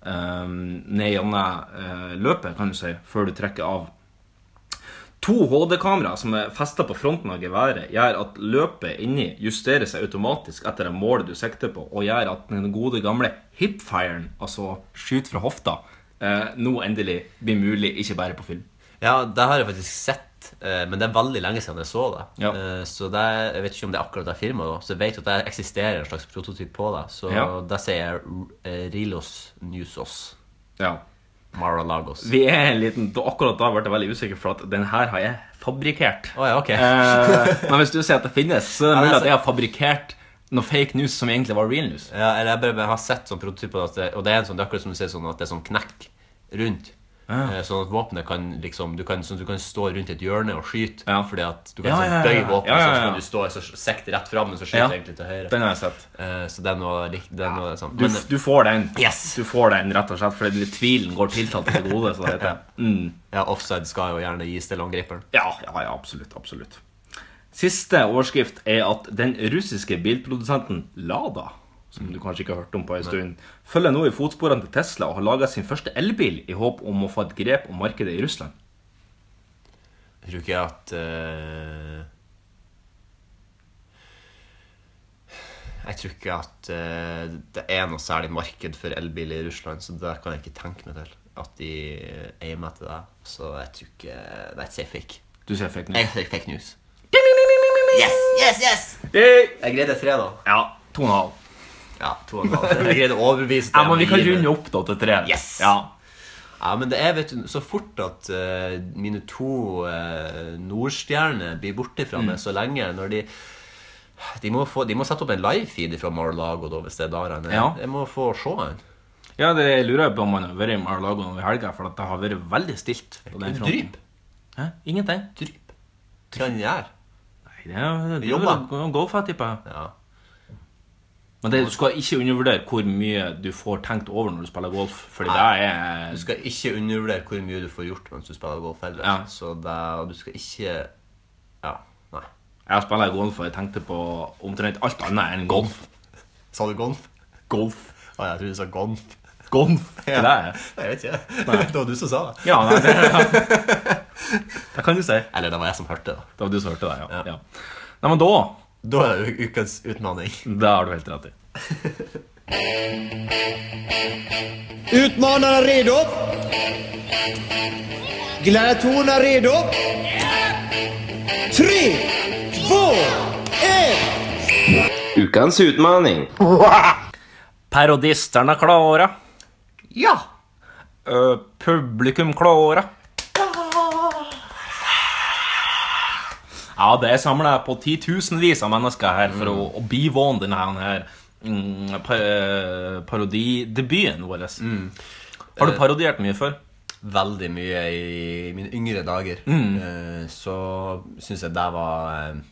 S2: eh, ned gjennom eh, løpet, kan du si, før du trekker av. To HD-kameraer som er festa på fronten av geværet, gjør at løpet inni justerer seg automatisk etter det målet du sikter på, og gjør at den gode gamle hipfiren, altså skyt fra hofta, eh, nå endelig blir mulig, ikke bare på film.
S3: Ja, det har jeg faktisk sett, eh, men det er veldig lenge siden jeg så det.
S2: Ja.
S3: Eh, Så det, jeg vet ikke om det er akkurat det firmaet, da. Så jeg vet at det eksisterer en slags prototyp på det. Så
S2: Ja.
S3: det sier jeg eh, Rilos Newsos.
S2: Ja.
S3: Mar-a-Lagos. Å
S2: Vi er en liten, da- Akkurat da ble jeg veldig usikker, for at den her har jeg fabrikkert.
S3: ja, ok.
S2: Eh, men hvis du sier at det finnes, så er det
S3: Ja,
S2: mulig
S3: det er
S2: at jeg har fabrikkert noe fake news som egentlig var real news.
S3: Ja, eller jeg bare, bare har sett sånn prototyper at det, Og det er en sånn, det er akkurat som du sier, sånn at det er sånn knekk rundt Eh, Sånn at våpenet kan liksom du kan, sånn, at du kan stå rundt et hjørne og skyte
S2: Ja.
S3: Fordi at du kan
S2: Ja, ja, ja,
S3: sånn bøye
S2: ja.
S3: våpenet
S2: Ja, ja, ja.
S3: Sånn at du står så sekt rett frem, men så skyter
S2: Ja.
S3: du egentlig til høyre
S2: Den har jeg sett.
S3: Eh, Så det er noe, lik- det er noe sånn
S2: Du,
S3: Men,
S2: du får den.
S3: Yes.
S2: Du får den, rett og slett, fordi tvilen går tiltalt til gode. Så det heter. Mm.
S3: ja, offside skal jo gjerne gis til angriperen
S2: Ja, ja, ja, absolutt, absolutt. Siste overskrift er at den russiske bilprodusenten Lada, som du kanskje ikke har hørt om på en stund, følger nå i fotsporene til Tesla og har laga sin første elbil i håp om å få et grep om markedet i Russland.
S3: Jeg tror ikke at eh, Jeg tror ikke at eh, det er noe særlig marked for elbiler i Russland, så det kan jeg ikke tenke meg til. At de eh, aimer etter det. Så jeg tror ikke Nei, jeg sier fake.
S2: Du ser fake
S3: Jeg
S2: news.
S3: sier fake news. Yes, yes, yes!
S2: Hey!
S3: Jeg greide tre, da.
S2: Ja, to og en halv.
S3: Ja, to og en halv. Jeg greide å overbevise
S2: Ja, men vi kan
S3: jeg gir det.
S2: runde opp da til tre.
S3: Yes!
S2: Ja.
S3: Ja, men det er, vet du, så fort at eh, mine to eh, nordstjerner blir borte fra
S2: Mm.
S3: meg så lenge når de de må, få, de må sette opp en livefeed fra Mar-Lago da, hvis det er der han er.
S2: Ja.
S3: Jeg må få se han.
S2: ja, det lurer jeg på om man har vært i Mar-a-Lago nå i helga, for at det har vært veldig stilt. på den fronten.
S3: Dryp.
S2: Hæ? Ingenting.
S3: Dryp. Hva han gjør.
S2: Nei, det er
S3: Vi
S2: jo
S3: jobber.
S2: golf, jeg tipper.
S3: Ja.
S2: Men det, du skal ikke undervurdere hvor mye du får tenkt over når du spiller golf. Fordi det
S3: Nei.
S2: er
S3: Du skal ikke undervurdere hvor mye du får gjort mens du spiller golf heller.
S2: Ja.
S3: Så det, og du skal ikke Ja, nei.
S2: Jeg spiller golf, og jeg tenkte på omtrent alt annet enn golf.
S3: Sa du golf?
S2: Golf.
S3: Å, jeg trodde du sa gonf.
S2: Golf. Det er det.
S3: Nei, jeg vet ikke. Det var du som sa det.
S2: Ja, nei, det, det kan du si. Det
S3: Eller det var jeg som hørte det.
S2: var du som hørte det, ja.
S3: Ja.
S2: ja. Nei, men da
S3: Da er det u- ukas utmanning.
S2: Det har du helt rett i.
S6: Utmanarna redo? Gladiatorerna redo? Tre, två, ett!
S7: Ukens utmaning.
S2: Parodisterne klarer.
S3: Ja!
S2: Ø, publikum klarer. Ja, det er samla på titusenvis av mennesker her for å, å bivåne denne her, mm, pa, eh, parodidebuten vår. Har du parodiert mye før?
S3: veldig mye i mine yngre dager, eh, så syns jeg det var eh,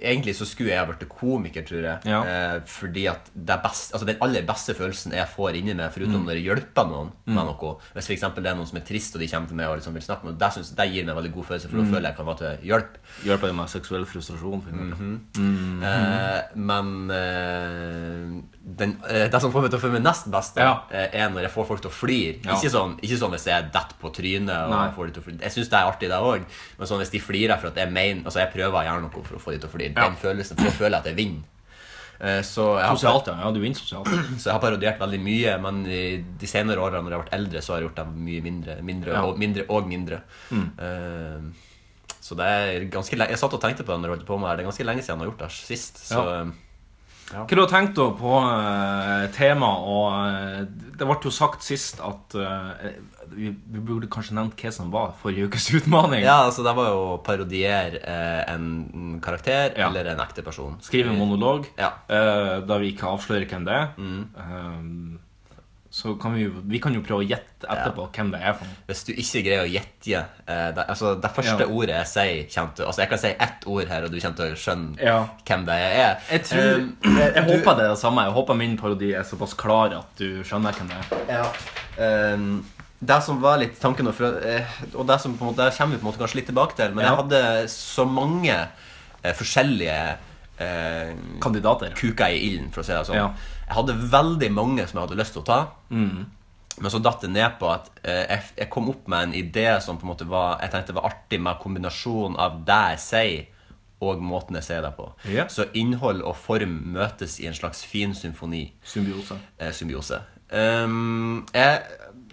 S3: Egentlig så skulle jeg ha blitt komiker, tror jeg.
S2: Ja.
S3: eh, Fordi at det er best, altså Den aller beste følelsen jeg får inni meg, foruten når jeg hjelper noen med noe Hvis for eksempel det er noen som er trist, og de kommer til meg og liksom vil snakke med meg, det, synes- det gir meg en veldig god følelse, for da føler jeg jeg kan være til hjelp.
S2: Hjelper det med seksuell frustrasjon? For eksempel?
S3: Eh, men eh, den, eh, det som får meg til å føle meg nest best, da,
S2: Ja.
S3: eh, er når jeg får folk til å flire.
S2: Ja.
S3: Ikke, sånn, ikke sånn hvis jeg detter på trynet. Og
S2: Nei.
S3: får de til å flire. Jeg syns det er artig, det òg. Men sånn hvis de flirer for at jeg mener Altså jeg prøver å gjøre noe for å få de til å flire, den følelsen, for da føler jeg at jeg vinner. Eh, Så jeg, har,
S2: Sosialt, ja. ja. Du vinner sosialt.
S3: så jeg har parodiert veldig mye, men i de senere årene når jeg har vært eldre, så har jeg gjort dem mye mindre, mindre,
S2: Ja. Mm.
S3: og, mindre og mindre. Eh, Så det er ganske lenge, jeg satt og tenkte på det når jeg holdt på med det her. Det er ganske lenge siden jeg har gjort det sist. Så
S2: Ja.
S3: eh,
S2: Hva du har tenkt da på uh, tema og eh, Det ble jo sagt sist at eh, vi, vi burde kanskje nevnt hva som var forrige ukes utfordring.
S3: Ja, altså det var jo å parodiere eh, en karakter
S2: Ja.
S3: eller en ekte person.
S2: Skrive en monolog
S3: Ja.
S2: eh, da vi ikke avslører hvem det er. Eh, så kan vi, jo- vi kan jo prøve å gjette etterpå hvem det er. for noe.
S3: Hvis du ikke greier å gjette eh, det, altså det første
S2: Ja.
S3: ordet jeg sier kommer til, altså Jeg kan si ett ord her, og du kommer til å skjønne
S2: Ja.
S3: hvem det er.
S2: Jeg, tror,
S3: Eh,
S2: jeg, jeg håper det er det samme. Jeg håper min parodi er såpass klar at du skjønner hvem det er.
S3: Ja. Ehm, Um, det som var litt tanken og fra- eh, Og det som på en måte, der kommer vi på en måte kanskje litt tilbake til, men
S2: Ja.
S3: jeg hadde så mange eh, forskjellige eh,
S2: Kandidater.
S3: kuka i ilden, for å si det sånn.
S2: Ja.
S3: Jeg hadde veldig mange som jeg hadde lyst til å ta. Men så datt det ned på at eh, jeg, jeg kom opp med en idé som på en måte var, jeg tenkte var artig med kombinasjonen av det jeg sier, og måten jeg sier det på.
S2: Ja.
S3: Så innhold og form møtes i en slags fin symfoni
S2: Symbiose.
S3: eh, symbiose. Ehm, jeg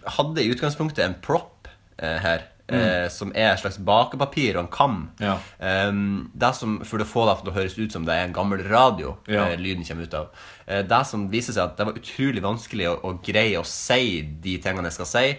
S3: hadde i utgangspunktet en prop eh, her, eh, som er et slags bakepapir og en kam.
S2: Mm. Ja.
S3: Ehm, det som, For å få det til å høres ut som det er en gammel radio
S2: Ja.
S3: eh, lyden kommer ut av. Eh, det som viser seg at det var utrolig vanskelig å, å greie å si de tingene jeg skal si,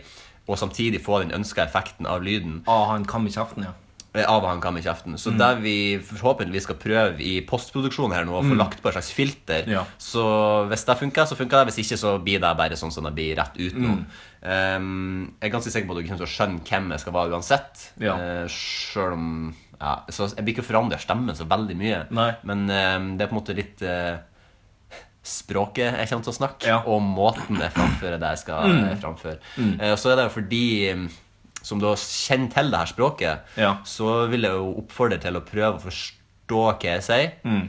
S3: og samtidig få den ønska effekten av lyden
S2: Ah, han kam i kjeften, ja.
S3: eh, av han kam i kjeften. Så
S2: Mm.
S3: det vi forhåpentligvis skal prøve i postproduksjon her nå, å få lagt på et slags filter
S2: Mm. Ja.
S3: Så hvis det funker, så funker det. Hvis ikke, så blir det bare sånn som det blir rett ut
S2: Mm.
S3: nå. Ehm, jeg er ganske sikker på at dere kommer til å skjønne hvem jeg skal være uansett.
S2: Ja.
S3: Eh, selv om ja, Så jeg blir ikke forandra stemmen så veldig mye.
S2: Nei.
S3: Men ehm, det er på en måte litt eh, språket jeg kommer til å snakke,
S2: Ja. Mm.
S3: og måten jeg framfører det jeg skal eh, framføre. Eh, og så er det jo fordi mm, som da kjenner til det her språket,
S2: Ja.
S3: så vil jeg jo oppfordre til å prøve å forstå hva jeg sier.
S2: Mm.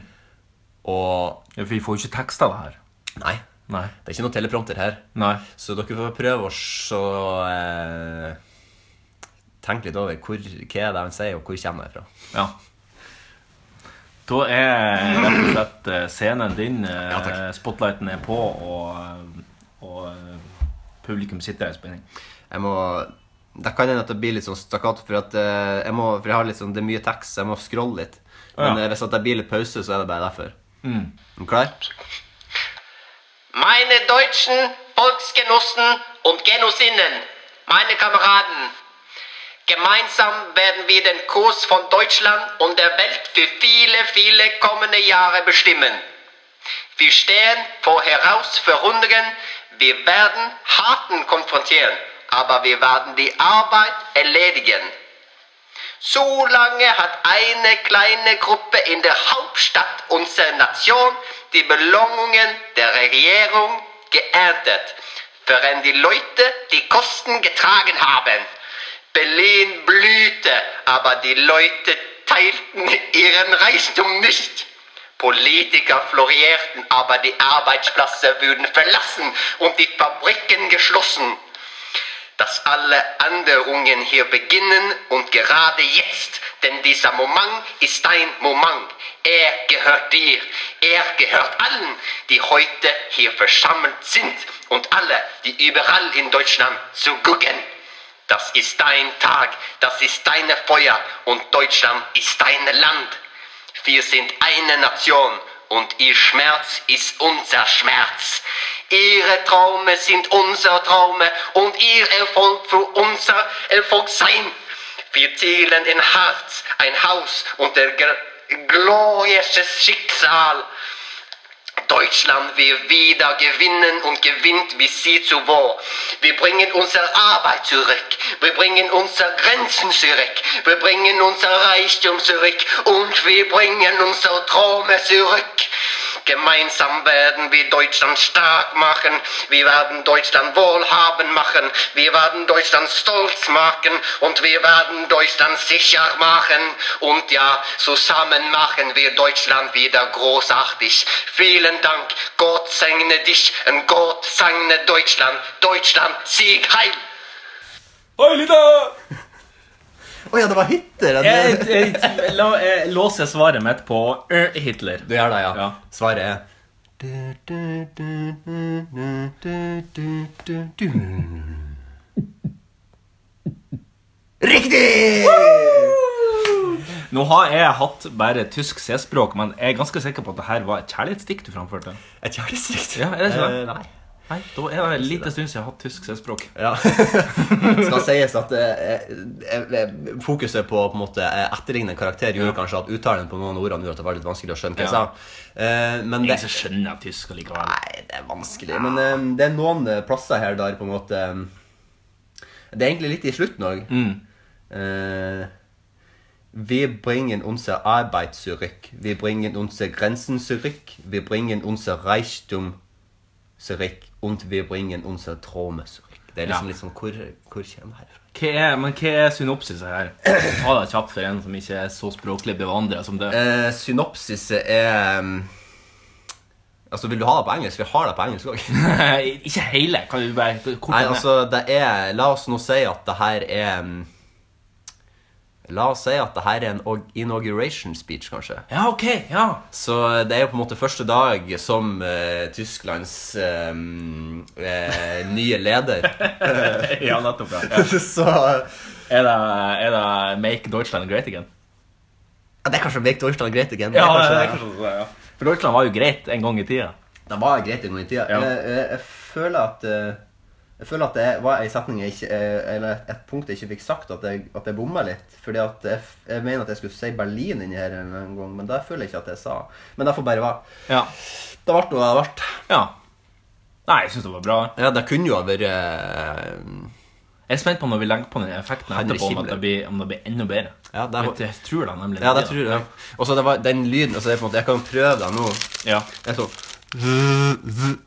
S3: Og
S2: Ja, For vi får jo ikke tekst av det her.
S3: nei,
S2: Nei.
S3: det er ikke noe teleprompter her.
S2: Nei.
S3: Så dere får prøve å så eh, Tenke litt over hvor, hva er det han sier, og hvor kommer jeg fra.
S2: Ja. Da er rett og slett eh, scenen din. eh,
S3: takk.
S2: Spotlighten er på, og, eh, og eh, publikum sitter her i spenning.
S3: Jeg må Det kan hende at det blir litt sånn stakkato, for, at, eh, jeg må, for jeg har litt sånn, det er mye tekst, så jeg må scrolle litt. Men
S2: Ja. Mm.
S3: eh, hvis at det blir litt pause, så er det bare derfor. Er du klar?
S8: Meine deutschen Volksgenossen und Genossinnen, meine Kameraden, gemeinsam werden wir den Kurs von Deutschland und der Welt für viele, viele kommende Jahre bestimmen. Wir stehen vor Herausforderungen, wir werden harten konfrontieren, aber wir werden die Arbeit erledigen. So lange hat eine kleine Gruppe in der Hauptstadt unserer Nation die Belohnungen der Regierung geerntet, während die Leute die Kosten getragen haben. Berlin blühte, aber die Leute teilten ihren Reichtum nicht. Politiker florierten, aber die Arbeitsplätze wurden verlassen und die Fabriken geschlossen dass alle Anderungen hier beginnen und gerade jetzt, denn dieser Moment ist dein Moment. Er gehört dir, er gehört allen, die heute hier versammelt sind und alle, die überall in Deutschland zu gucken. Das ist dein Tag, das ist deine Feuer und Deutschland ist dein Land. Wir sind eine Nation und ihr Schmerz ist unser Schmerz. Ihre Traume sind unser Traume und ihr Erfolg für unser Erfolg sein. Wir zählen ein Herz, ein Haus und der gl- glorreiches Schicksal. Deutschland will wieder gewinnen und gewinnt wie sie zuvor. Wir bringen unsere Arbeit zurück. Wir bringen unsere Grenzen zurück. Wir bringen unser Reichtum zurück. Und wir bringen unsere Träume zurück. Gemeinsam werden wir Deutschland stark machen. Wir werden Deutschland wohlhabend machen. Wir werden Deutschland stolz machen. Und wir werden Deutschland sicher machen. Und ja, zusammen machen wir Deutschland wieder großartig. Vielen Dank. Gott segne dich und Gott segne Deutschland. Deutschland, Sieg heil!
S2: Oi, Lita!
S3: Å ja, det var Hitler! den-
S2: Jeg, jeg, la, jeg låser svaret mitt på eh, Hitler.
S3: Du gjør det, ja.
S2: Ja.
S3: Svaret er Riktig!
S2: Nå har jeg hatt bare tysk C-språk, men jeg er ganske sikker på at det her var et kjærlighetsdikt du framførte.
S3: Et kjærlighetsdikt.
S2: Ja, er det ikke det?
S3: Eh, nei.
S2: Nei, da er det en liten stund siden jeg har hatt tysk C-språk.
S3: Ja. Skal sies at eh, eh, eh, fokuset på å på en måte eh, etterligne en karakter gjorde kanskje at uttalen på noen av ordene gjorde at det var litt vanskelig å skjønne hva jeg
S2: Ja.
S3: sa. Eh, men det,
S2: Jeg så skjønner jeg tysk allikevel.
S3: nei, det er vanskelig. Men eh, det er noen eh, plasser her der på en måte eh, Det er egentlig litt i slutten òg. Eh, vi bringen unser Arbeit zurück. Vi bringen unser Grenzen zurück. Vi bringen unser Reichtum zurück. Und wir bringen unser Traume zurück. Det er liksom
S2: Ja.
S3: litt sånn Hvor, hvor kommer det her fra?
S2: Hva er, men hva er synopsis her? Ta det kjapt for en som ikke er så språklig bevandret som det.
S3: Eh, synopsiset er mm, Altså, vil du ha det på engelsk? Vi har det på engelsk òg.
S2: ikke hele. Kan du bare korte
S3: Nei,
S2: ned?
S3: altså, det er La oss nå si at det her er mm, La oss si at det her er en og- inauguration speech, kanskje.
S2: Ja, ok. Ja.
S3: Så det er jo på en måte første dag som eh, Tysklands eh, eh, nye leder.
S2: ja, nettopp. Ja.
S3: Så ja,
S2: Er, det, er det Make Deutschland Great Again?
S3: Det er kanskje Make Deutschland greit igjen.
S2: Ja,
S3: kanskje-
S2: det er kanskje det, ja. For Deutschland var jo greit en gang i tida.
S3: Det var greit en gang i tida.
S2: Ja.
S3: Jeg, jeg, jeg føler at eh, Jeg føler at det var en setning jeg ikke eh, Eller et- et punkt jeg ikke fikk sagt, at jeg, at jeg bomma litt. Fordi at jeg, f- jeg mener at jeg skulle si Berlin inni her en en gang, men det føler jeg ikke at jeg sa. Men det får bare være.
S2: Ja.
S3: Det ble noe det ble.
S2: ja. Nei, jeg syns det var bra.
S3: Ja, det kunne jo ha vært eh,
S2: Jeg er spent på når vi legger på den effekten
S3: Henrik
S2: etterpå, om, at
S3: Himmler.
S2: det blir, om det blir enda bedre.
S3: Ja, det var-
S2: jeg, jeg tror det nemlig.
S3: Ja, det tror jeg. Og så det var den lyden altså det er på en måte, Jeg kan prøve det nå.
S2: Ja.
S3: Jeg så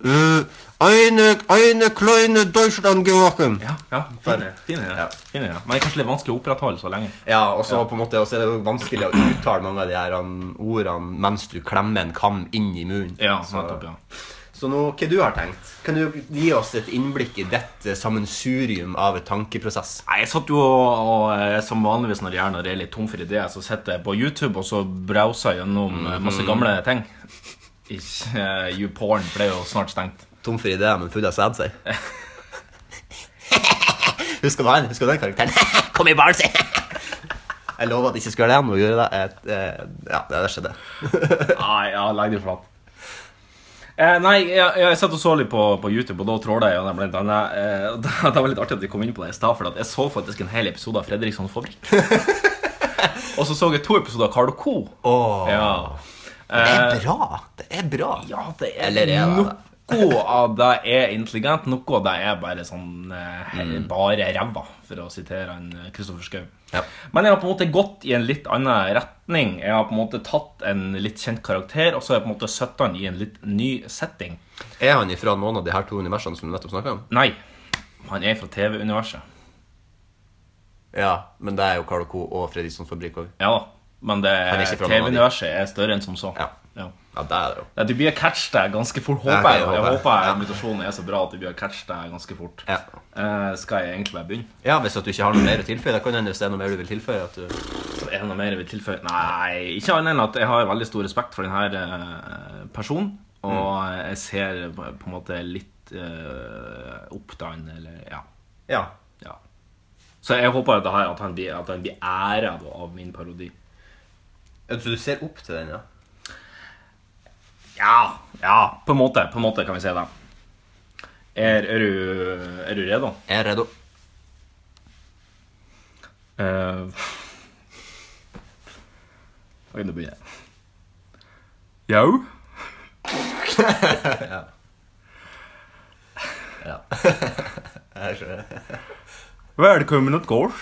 S3: Eine, eine kleine Deutschland geworden.
S2: Ja, ja, fin, fin, ja.
S3: Ja.
S2: fin, ja. Men det er kanskje litt vanskelig å opprettholde så lenge.
S3: Ja, og så på en måte, og så er det jo vanskelig å uttale mange av de her um, ordene mens du klemmer en kam inn i munnen.
S2: Ja,
S3: så,
S2: nettopp, ja.
S3: så nå, hva du har tenkt? Kan du gi oss et innblikk i dette sammensurium av et tankeprosess?
S2: Nei, jeg satt jo og, og eh, som vanligvis når jeg er, når jeg er litt tom for ideer, så sitter jeg på YouTube og så browser gjennom eh, masse gamle ting. Ikke eh, YouPorn, for det er jo snart stengt.
S3: Tom for ideer, men full av sæd, sier Husker du han? Husker du den karakteren? Kom i baren, sier Jeg lover at jeg ikke skal gjøre det igjen. Nå gjorde jeg det. Et, eh, ja, det det skjedde.
S2: Nei, ja, legg deg flat. Eh, nei, jeg, jeg satt og så litt på, på YouTube, og da tråla jeg gjennom blant annet. Eh, og det, det var litt artig at vi kom inn på det i stad, for at jeg så faktisk en hel episode av Fredrikssons Fabrikk. og så så jeg to episoder av Carl Co.
S3: Åh,
S2: Ja.
S3: Det er bra. Det er bra.
S2: Ja, det er,
S3: Eller er det det?
S2: Noe av det er intelligent, noe av det er bare sånn eh, he- bare ræva, for å sitere han eh, Kristoffer Schau.
S3: Mm. Ja.
S2: Men jeg har på en måte gått i en litt annen retning. Jeg har på en måte tatt en litt kjent karakter, og så har jeg på en måte satt han i en litt ny setting.
S3: Er han ifra noen av de her to universene som du nettopp snakket om?
S2: Nei, han er fra TV-universet.
S3: Ja, men det er jo Carl Co. og Fredrikssons fabrikk òg.
S2: Ja da, men det
S3: er ikke fra noen av de.
S2: TV-universet er større enn som så.
S3: Ja. Ja, det er det jo.
S2: Ja, Du blir catch deg ganske fort,
S3: Ja,
S2: håper
S3: jeg
S2: jeg. Jeg
S3: håper.
S2: håper
S3: Ja.
S2: mutasjonen er så bra at du blir catch deg ganske fort.
S3: Ja.
S2: Eh, skal jeg egentlig bare begynne?
S3: Ja, Hvis at du ikke har noe mer å tilføye, da kan det hende hvis det er noe mer du vil tilføye. at du...
S2: Er det noe mer jeg vil tilføye? Nei, ikke annet enn at jeg har veldig stor respekt for denne eh, personen. Og jeg ser på på en måte litt eh, opp til han, eller ja,
S3: Ja.
S2: ja. Så jeg håper at, det her, at han blir, at han blir æra da av min parodi.
S3: Ja, Så du ser opp til den, ja?
S2: Ja, ja, på en måte, på en måte kan vi si det. Er, er, du, er du redd, da?
S3: Jeg er redd.
S2: Eh, Ok, nå begynner jeg. Jau?
S3: Ja. Jeg skjønner.
S2: Velkommen til gårds.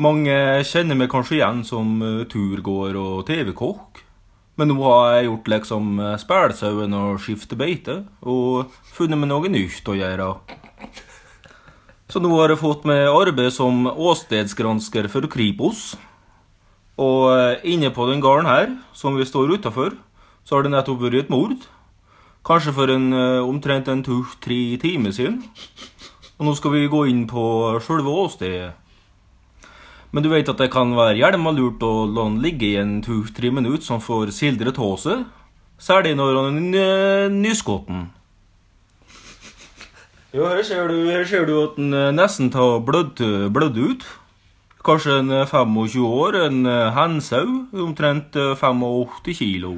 S2: Mange kjenner meg kanskje igjen som eh, turgåer og TV-kokk. Men nå har jeg gjort liksom eh, spelsauen og skiftet beite, og funnet meg noe nytt å gjøre. Så nå har jeg fått meg arbeid som åstedsgransker for Kripos. Og eh, inne på den gården her, som vi står utafor, så har det nettopp vært et mord. Kanskje for en, eh, omtrent en to-tre timer siden. Og nå skal vi gå inn på sjølve åstedet. Men du vet at det kan være hjelma lurt å la den ligge i en to-tre minutter, som får sildret av seg, Særlig når han er ny- eh, nyskoten. Jo, her ser du, her ser du at han eh, nesten har blødd, eh, blødd ut. Kanskje en eh, 25 år, en eh, hensau, omtrent eh, 85 kilo.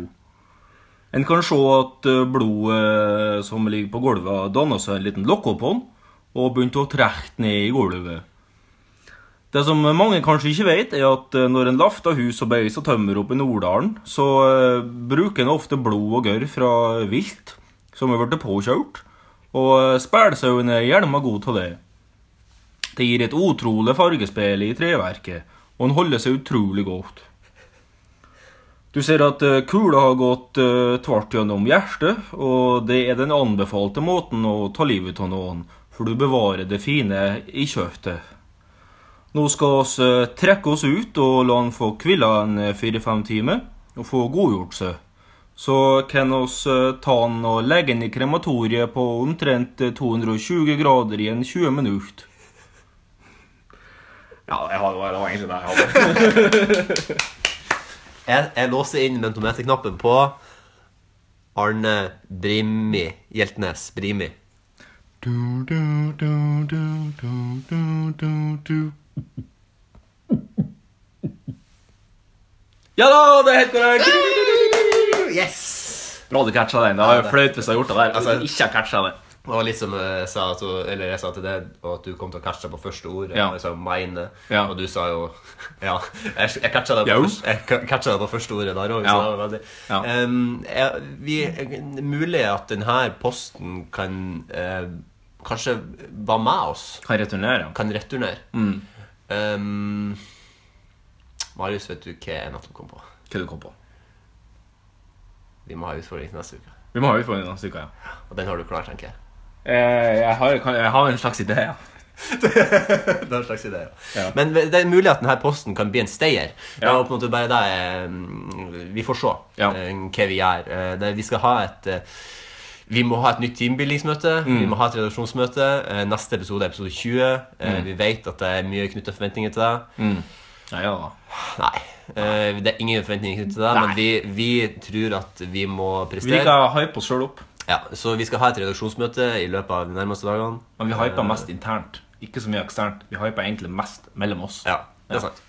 S2: En kan se at eh, blodet eh, som ligger på gulvet, har dannet seg en liten lokk på den, og begynt å trekke ned i gulvet. Det som mange kanskje ikke vet, er at eh, når en lafter hus og beis og tømmer opp i Norddalen, så eh, bruker en ofte blod og gørr fra vilt som er blitt påkjørt, og uh, spælsauen er gjerne god til det. Det gir et utrolig fargespill i treverket, og den holder seg utrolig godt. Du ser at eh, kula har gått eh, tvert gjennom hjertet, og det er den anbefalte måten å ta livet av noen, for du bevarer det fine i kjøttet. Nå skal oss eh, trekke oss ut og la han få hvile en eh, fire-fem timer og få godgjort seg. Så kan oss eh, ta han og legge han i krematoriet på omtrent eh, 220 grader i en 20 minutter. Ja, det var, egentlig det jeg hadde.
S3: Jeg, jeg låser inn mentometerknappen på Arne Brimi Hjeltnes Brimi.
S2: Ja da, det er helt korrekt!
S3: Yes!
S2: Bra du catcha den. Det var jo flaut hvis jeg hadde gjort det der. Altså,
S3: Altså-
S2: ikke catcha det.
S3: Det var litt som jeg sa, at, eller jeg sa til deg, og at du kom til å catche deg på første ord.
S2: Ja.
S3: Jeg sa mine,
S2: Ja.
S3: og du sa jo Ja. Jeg, jeg catcha deg på,
S2: Jo.
S3: først- jeg ca- catcha deg på første ordet der òg.
S2: Ja. Ja.
S3: mulig at denne posten kan eh, Kanskje var med oss.
S2: Kan returnere.
S3: Kan returnere.
S2: Mm.
S3: Um, Marius, vet du hva jeg nettopp kom på?
S2: Hva du kom på?
S3: Vi må ha utfordring til neste uke.
S2: Vi må ha utfordring neste uke. ja.
S3: Og den har du klar, tenker jeg.
S2: Eh, Jeg har, kan- jeg har en slags idé, ja.
S3: Det er en slags idé, ja.
S2: Ja.
S3: Men det er mulig at denne posten kan bli en stayer. Det
S2: Ja.
S3: er på en måte bare det eh, mm, Vi får se
S2: Ja.
S3: eh, hva vi gjør. Eh, det- Vi skal ha et eh, vi må ha et nytt teambuildingsmøte.
S2: Mm.
S3: Vi må ha et redaksjonsmøte. Eh, Neste episode er episode 20. Eh,
S2: Mm.
S3: Vi vet at det er mye knytta forventninger til det.
S2: Ja, ja da.
S3: Nei, eh, det er ingen forventninger knyttet til det, men vi, vi tror at vi må
S2: Vi
S3: prestere.
S2: liker å hype oss sjøl opp,
S3: Ja, så vi skal ha et redaksjonsmøte i løpet av de nærmeste dagene.
S2: men vi hyper mest internt. Ikke så mye eksternt. Vi hyper egentlig mest mellom oss.
S3: Ja, det er sant.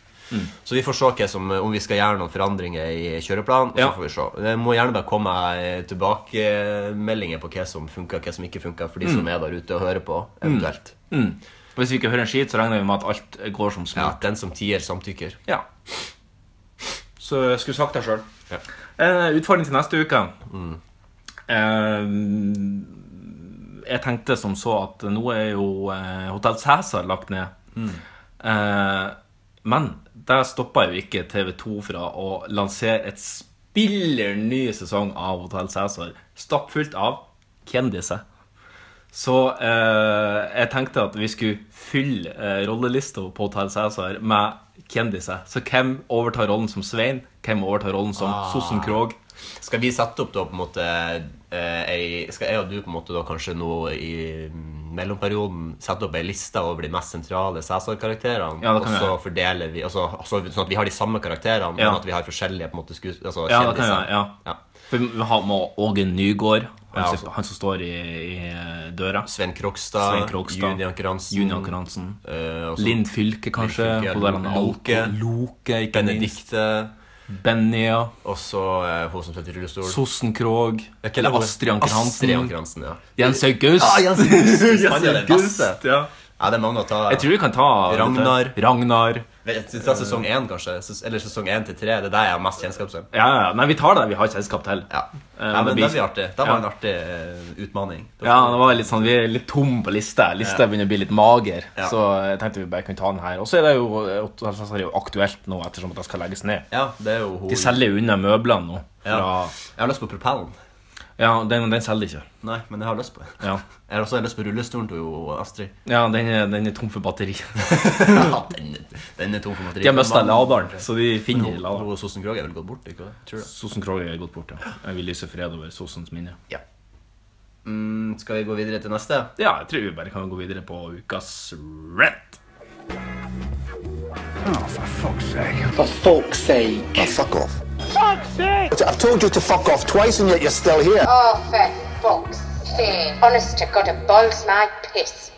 S3: Så vi får se hva som, om vi skal gjøre noen forandringer i kjøreplanen. Og så
S2: Ja.
S3: får vi se. Det må gjerne bare komme eh, tilbakemeldinger på hva som funker, hva som ikke funker, for de som er der ute og hører på, eventuelt.
S2: Mm. Hvis vi ikke hører en skit, så regner vi med at alt går som
S3: Ja,
S2: smurt.
S3: den som tier, samtykker.
S2: Ja. Så jeg skulle sagt det sjøl.
S3: Ja.
S2: Eh, utfordring til neste uke. Eh, jeg tenkte som så at nå er jo eh, Hotell Cæsar lagt ned. Eh, men der stoppa jo ikke TV2 fra å lansere et spiller ny sesong av Hotell Cæsar. Stappfullt av kjendiser. Så eh, jeg tenkte at vi skulle fylle eh, rollelista på Hotel Cæsar med kjendiser. Så hvem overtar rollen som Svein? Hvem overtar rollen som Sossen Krog?
S3: Skal vi sette opp da på en måte eh, ei, Skal jeg og du på en måte da kanskje nå i mm, mellomperioden sette opp ei liste over de mest sentrale Cæsar-karakterene?
S2: Ja, det
S3: og
S2: kan vi
S3: så
S2: gjøre.
S3: fordeler vi altså, altså, Sånn at vi har de samme karakterene,
S2: Ja.
S3: men at vi har forskjellige på en måte skues... Altså,
S2: Ja, det kan
S3: kjendiser.
S2: jeg, ja. For vi har med Åge Nygård, han,
S3: Ja,
S2: som-
S3: altså.
S2: han som står i, i eh, døra.
S3: Sven Krogstad,
S2: Svein Krogstad.
S3: Julian Kransen,
S2: Junior Kransen.
S3: eh, og så
S2: Linn Fylke, kanskje.
S3: Linn Fylke,
S2: Hun der han er
S3: Loke.
S2: alko- Loke, ikke minst.
S3: Benedicte,
S2: Benja.
S3: og så eh, hun som sitter i rullestol.
S2: Sossen Krog. Eller Astrid Anker
S3: Astrid Anker
S2: Hansen.
S3: Hansen, ja.
S2: Jens August.
S3: Ah, Jens August! Han er den
S2: August,
S3: beste.
S2: ja.
S3: Ja, det er mange å ta.
S2: Jeg tror vi kan ta
S3: Ragnar.
S2: dette. Ragnar.
S3: Vet du, Ta sesong én, kanskje. ses- Eller sesong én til tre. Det er der jeg har mest kjennskap til.
S2: Ja, ja, ja. Nei, vi tar det. Vi har selskap til.
S3: Ja.
S2: Eh,
S3: ja,
S2: det
S3: men
S2: blir-
S3: det blir artig. Det var
S2: Ja.
S3: en artig eh, utmaning.
S2: Ja, det var litt sånn, Vi er litt tom på lista. Lista begynner å bli litt mager.
S3: Ja.
S2: Så jeg tenkte vi bare kunne ta den her. Og så er det jo, altså, så er det jo aktuelt nå, ettersom at det skal legges ned.
S3: Ja, det er jo hun
S2: De selger jo unna møblene nå. Fra,
S3: ja. Jeg har lyst på propellen.
S2: ja. den, den selger ikke.
S3: Nei, men jeg har lyst på
S2: Ja,
S3: Jeg har også lyst på rullestolen til jo Astrid.
S2: ja den, er, den er tom for batteri.
S3: Ja, den, den er tom for batteri.
S2: De har mista laderen, så de finner ikke laderen.
S3: Hun og Sossen Krog er vel gått bort? ikke det? Tror det.
S2: Sossen Krog er gått bort, ja. Jeg vil lyse fred over sossens minne.
S3: Mm, skal vi gå videre til neste?
S2: Ja, jeg tror vi bare kan gå videre på ukas rant.
S4: For folk's sake.
S5: fuck off.
S9: I've told you to fuck off twice and yet you're still here.
S10: Oh, for fuck's sake. Honest to God, it boils my piss.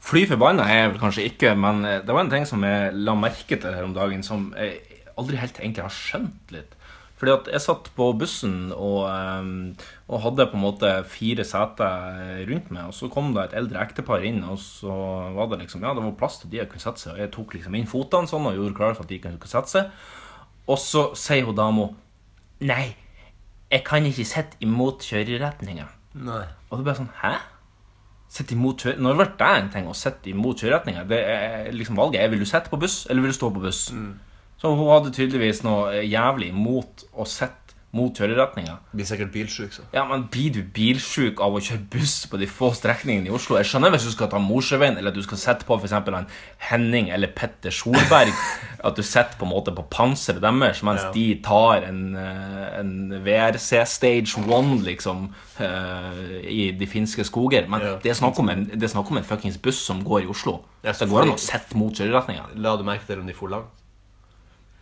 S2: Fly forbanna er jeg vel kanskje ikke, men eh, det var en ting som jeg la merke til her om dagen, som jeg aldri helt egentlig har skjønt litt. Fordi at jeg satt på bussen og, eh, og hadde på en måte fire seter rundt meg, og så kom det et eldre ektepar inn, og så var det liksom, ja, det var plass til de jeg kunne sette seg, og jeg tok liksom inn fotene sånn og gjorde klar for at de kunne sette seg. Og så sier hun dama, nei, jeg kan ikke sitte imot kjøreretninga.
S3: Nei.
S2: Og det ble sånn, hæ? Sitte imot kjøre... Når ble det en ting å sitte imot kjøreretninga? Det er liksom valget er vil du sitte på buss, eller vil du stå på buss? Så hun hadde tydeligvis noe jævlig imot å sitte mot kjøreretninga.
S3: Blir sikkert bilsjuk, så.
S2: Ja, men blir du bilsjuk av å kjøre buss på de få strekningene i Oslo? Jeg skjønner hvis du skal ta Mosjøveien, eller at du skal sette på for eksempel han Henning eller Petter Solberg, at du setter på en måte på panseret deres, mens de tar en, eh, en VRC Stage 1, liksom, eh, i de finske skoger. Men
S3: Ja.
S2: det er snakk om en, det er snakk om en fuckings buss som går i Oslo. det går an
S3: Ja, selvfølgelig.
S2: å sette mot kjøreretninga.
S3: La du merke til om de for langt?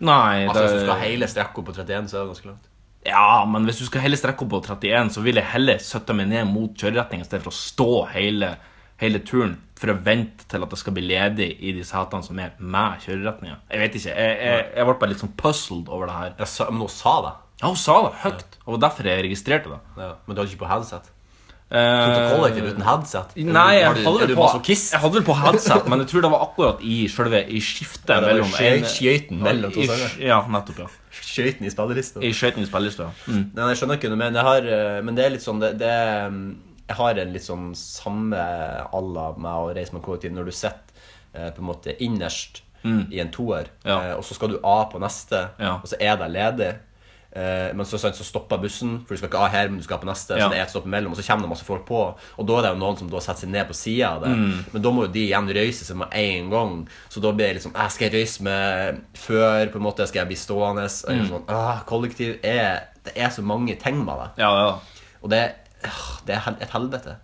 S2: Nei,
S3: Altså, Hvis du
S2: det-
S3: skal hele strekket på 31, så er det ganske langt.
S2: Ja, men hvis du skal heller strekke opp på 31, så vil jeg heller sette meg ned mot kjøreretning i stedet for å stå hele, hele turen for å vente til at det skal bli ledig i de setene som er med kjøreretninga. Jeg vet ikke. Jeg, jeg, jeg ble bare litt sånn puzzled over det her.
S3: Jeg sa, men hun sa det.
S2: Ja, hun sa det høyt, og det var derfor jeg registrerte det.
S3: Ja. Men du hadde ikke på headset.
S2: Eh,
S3: Du tok kollektiv uten headset.
S2: Nei,
S3: Har
S2: jeg
S3: du-
S2: hadde,
S3: er
S2: vel
S3: du
S2: på,
S3: masochist?
S2: jeg hadde vel på headset, men jeg tror det var akkurat i selve i skiftet
S3: Ja, det var i
S2: mellom
S3: skjøy-
S2: en-
S3: skjøyten mellom to
S2: I-
S3: sanger.
S2: Ja, nettopp. ja.
S3: Skøyten i spillelista.
S2: I skøyten i spillelista. Mm.
S3: Nei, nei, jeg skjønner ikke noe, men, jeg har, eh, men det er litt sånn det, det, eh, Jeg har en litt sånn samme alla med å reise med kollektiv når du sitter eh, på en måte innerst i en toer,
S2: Mm. Ja.
S3: eh, og så skal du av på neste,
S2: Ja.
S3: og så er det ledig. Eh, men så, sant, så stopper bussen, for du skal ikke av her, men du skal av på neste.
S2: Ja.
S3: Så det er et stopp imellom, og så kommer det masse folk på. Og da er det jo noen som da setter seg ned på sida av det. Men da må jo de igjen røyse seg med en gang. Så da blir det liksom Jeg skal røyse meg før, på en måte. Skal jeg bli stående? Eller sånn, «Ah, kollektiv er Det er så mange ting med det.
S2: Ja, ja.
S3: Og det, ah, det er hel- et helvete.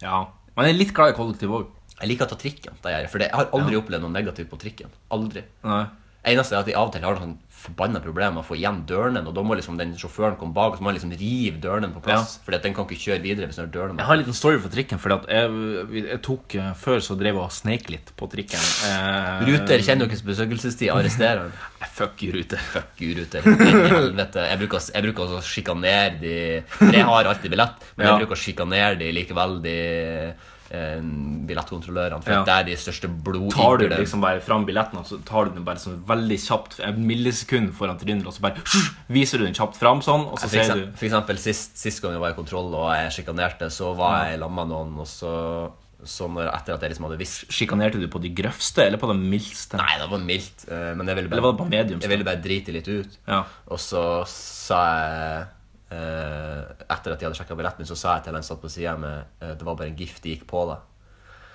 S2: ja. Men jeg er litt glad i kollektiv òg.
S3: Jeg liker å ta trikken. Det gjør jeg, for det, jeg har aldri opplevd noe negativt på trikken. Aldri.
S2: Nei.
S3: Eneste er at de av og til har noen forbanna problemer med å få igjen dørnen, og da må liksom den sjåføren komme bak og så må han liksom rive dørnen på plass. Fordi at den kan ikke kjøre videre hvis den har dørnen
S2: Jeg har en liten story for trikken. Fordi at jeg, jeg tok eh, Før så drev jeg og sneik litt på trikken. Eh,
S3: Ruter kjenner deres besøkelsestid, arresterer han.
S2: Fuck you, Ruter.
S3: Fuck you, Ruter. Inn i helvete. Jeg bruker, jeg bruker også å sjikanere de For jeg har alltid billett, men
S2: Ja.
S3: jeg bruker å sjikanere de likevel, de eh, billettkontrollørene. For
S2: Ja.
S3: at det er de største
S2: Tar du
S3: blodiglene.
S2: liksom bare fram billetten og så tar du den bare sånn veldig kjapt en millisekund foran trynet, og så bare shush, viser du den kjapt fram sånn, og så
S3: For
S2: sier
S3: eksempel,
S2: du
S3: for eksempel sist, sist gang jeg var i kontroll og jeg sjikanerte, så var jeg sammen med noen, og så, så når, etter at jeg liksom hadde visst
S2: Sjikanerte du på de grøvste eller på de mildste?
S3: Nei, det var mildt, eh, men jeg ville
S2: Eller var det
S3: bare,
S2: på medium?
S3: jeg ville bare drite litt ut.
S2: Ja.
S3: Og så sa jeg eh, Etter at de hadde sjekka billetten min, så sa jeg til den som satt på sida med eh, Det var bare en gift de gikk på, da.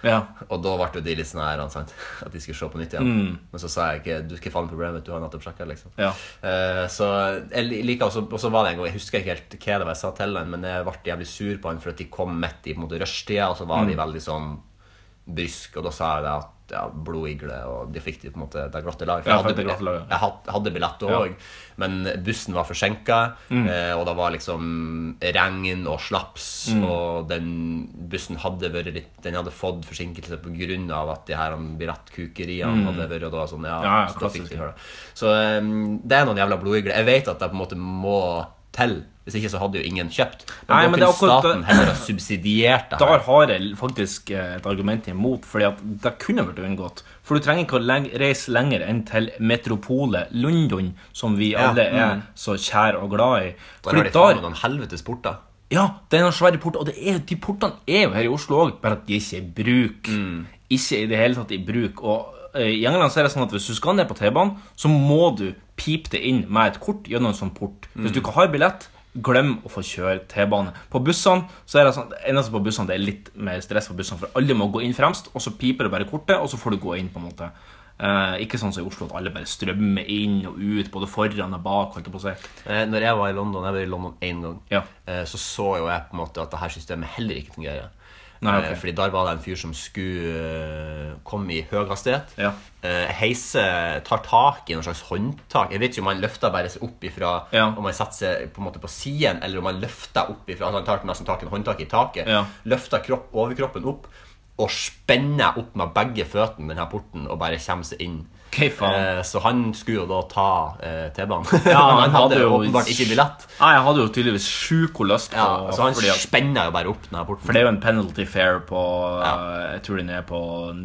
S2: Ja.
S3: Og da ble jo de litt sånn her, sant? at de skulle se på nytt igjen. Men så sa jeg ikke du, hva faen er problemet, du har nettopp sjekka, liksom.
S2: Mm. Ja.
S3: Eh, så jeg li- liker også, og så var det en gang, jeg husker ikke helt hva det var jeg sa til han, men jeg ble jævlig sur på han for at de kom midt i på en måte rushtida, og så var
S2: Mm.
S3: de veldig sånn brysk, og da sa jeg det at ja, blodigle, og de fikk de på en måte det glatte lag. For
S2: Ja,
S3: jeg
S2: for det
S3: hadde,
S2: glatte lag, ja.
S3: jeg, jeg had- hadde billett òg, men bussen var forsinka,
S2: Mm.
S3: eh, og det var liksom regn og slaps,
S2: Mm.
S3: og den bussen hadde vært litt Den hadde fått forsinkelse pga. at de her billettkukeriene hadde vært og da sånn, ja,
S2: Mm. Ja, ja,
S3: så da fikk
S2: klassisk,
S3: de
S2: ja.
S3: høre. Så um, det er noen jævla blodigler. Jeg vet at det på en måte må til. Hvis ikke så hadde jo ingen kjøpt. Men
S2: Nei,
S3: da
S2: men det
S3: kunne
S2: er akkurat
S3: staten
S2: det-
S3: heller ha subsidiert det.
S2: Der
S3: her.
S2: har jeg faktisk eh, et argument imot, fordi at det kunne vært unngått. For du trenger ikke å leg- reise lenger enn til metropolet London, som vi alle
S3: mm.
S2: er så kjære og glad i.
S3: Der har
S2: Fordi
S3: de faen meg
S2: der,
S3: noen helvetes porter.
S2: ja, det er noen svære porter, og det er, de portene er jo her i Oslo òg, bare at de ikke er i bruk. Ikke i det hele tatt i bruk. Og eh, i England så er det sånn at hvis du skal ned på T-banen, så må du pipe det inn med et kort gjennom en sånn port. Hvis du ikke har billett, glem å få kjøre T-bane. På bussene så er det sånn, det eneste på bussene det er litt mer stress på bussene, for alle må gå inn fremst, og så piper det bare kortet, og så får du gå inn, på en måte. Eh, ikke sånn som i Oslo at alle bare strømmer inn og ut, både foran og bak, holdt jeg på å si.
S3: Eh, Når jeg var i London, jeg var i London én gang,
S2: Ja.
S3: eh, så så jo jeg på en måte at det her systemet heller ikke fungerer.
S2: Nei, ok.
S3: Eh, Fordi der var det en fyr som skulle eh, komme i høy hastighet.
S2: Ja.
S3: Eh, Heise tar tak i noe slags håndtak. Jeg vet ikke om han løfter bare seg opp ifra
S2: Ja.
S3: Om han setter seg på en måte på siden, eller om han løfter opp ifra altså Han tar nesten tak i en håndtak i taket.
S2: Ja.
S3: Løfter kropp, overkroppen opp og spenner opp med begge føttene denne porten og bare kommer seg inn.
S2: Ok, faen.
S3: Eh, Så han skulle jo da ta eh, T-banen.
S2: Ja,
S3: Men han hadde jo åpenbart ikke billett.
S2: Nei, jeg hadde jo tydeligvis sjuk og lyst på
S3: Ja, så han
S2: fordi at-
S3: spenner jo bare opp denne porten.
S2: For det er jo en penalty fair på
S3: Ja.
S2: eh, Jeg tror den er på